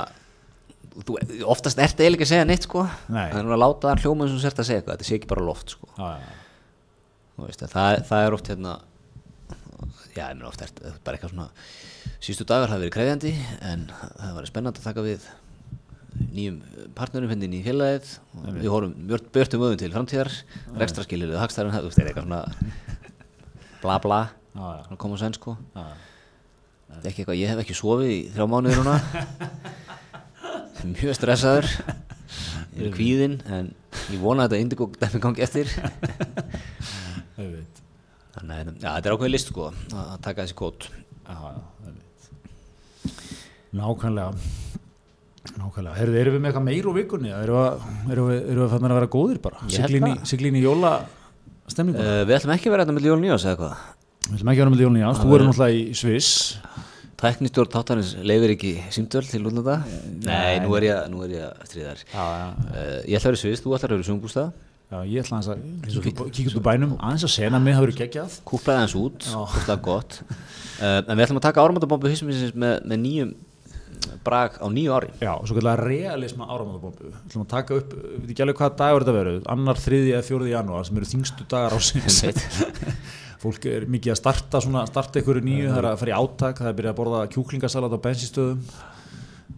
þú, oftast ertu eiginlega ekki að segja neitt sko
Nei.
það er núna að láta það hljóma eins og þú sért að segja eitthvað þetta sé ekki bara loft sko
Já, já,
Þú veist, að það, það er oft hérna já, ég meina oft er þetta bara eitthvað svona sístu dagar hafa verið krefjandi en það var spennandi að taka við nýjum partnerum henni í félagið og við horfum mjört, björtum öðum til framtíðar rekstraskililu, hagstæðan þú veist, það er eitthvað svona bla bla,
já, já,
svona koma senn sko
já.
Þetta er ekki eitthvað, ég hef ekki sofið í þrjá mánuði núna Mjög stressaður Ég er kvíðinn en ég vona að þetta indigo dæmi gangi eftir
Auðvitað.
Þannig að já, þetta er ákveðið list sko að að taka þessi kót
já, já, auðvitað. Nákvæmlega Nákvæmlega, Herðu, erum við með eitthvað meir úr vikunni eða erum við, erum við, erum við fannir að vera góðir bara
Ég held
Siglín í-
það.
siglín í jóla stemningu
uh, Við ætlum ekki að vera þetta með Jólun Jóns eða hvað
Við ætlum ekki að vera með Jóni Jans, þú verður náttúrulega í Sviss
Tæknistjórn þáttarins leifir ekki símdöl til útlanda Nei, nú er ég, nú er ég að stríða þér
Já, já,
uh, Ég ætla að vera sviðst, þú ætlar að vera sjónbústa
Já, ég ætla aðeins að kíkja- kíkja út úr bænum, aðeins að sena mig, það verður geggjað.
Kúplaði hans út, kúplaði gott uh, En við ætlum að taka áramöndabombu hysmisins með, með nýjum brag á nýju ári
Já, svo kallar realisma áramöndabombu. Við ætlum að taka upp, við veit ekki alveg hvaða dagur þetta verður, annar, þriði eða fjóriði janúar sem eru þingstu dagar ásins. Fólk er mikið að starta svona, starta ykkur nýju, það er að fara í átak, það er að byrja að borða kjúklingasalat á bensinstöðum,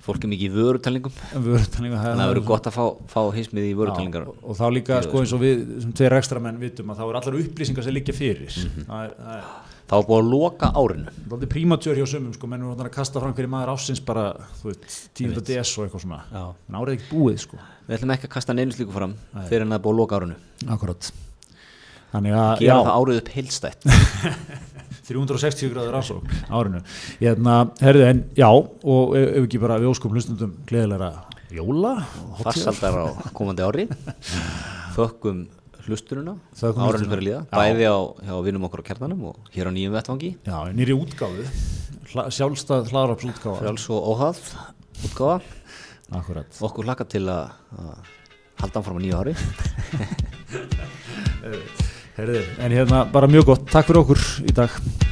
Fólk er mikið í vörutalningum
vörutalningu,
Þannig að það verður gott að fá, fá hysmið í
Já,
vörutalningar
og, og þá líka sko eins og við sem tveir ekstramenn vitum að þá er allar upplýsingar sem liggja fyrir það er, það er
Þá er búið að loka árinu
Lótið prímatjör hjá sumum sko, menn eru orðnir að kasta fram hverju maður ásins bara, þú veit, 10. DS og eitthvað svona.
Já.
En árið er ekki búið sko.
Við ætlum ekki að kasta neinu slíku fram fyrir en það er búið að loka árinu
Akkurat. Þannig að,
Gera
já,
það árið upp heilstætt
360 gráður rannsók árinu. Hérna, herðu, en já, og ef ef ekki bara við óskum hlustundum gleðilega jóla,
Farsaldar á komandi ári Þökkum hlusturuna Árinu
Þökkum hlustunina.
fyrir líða Bæði á, hjá vinum okkur á kjarnanum og hér á nýjum vettvangi
já, nýri útgáfu, hla, sjálfstað hlaðarafs útgáfa.
Fjáls og óhað útgáfa
Akkurat.
Okkur hlaka til að, að halda áfram á nýju ári
Herðu, en hérna, bara mjög gott, takk fyrir okkur í dag.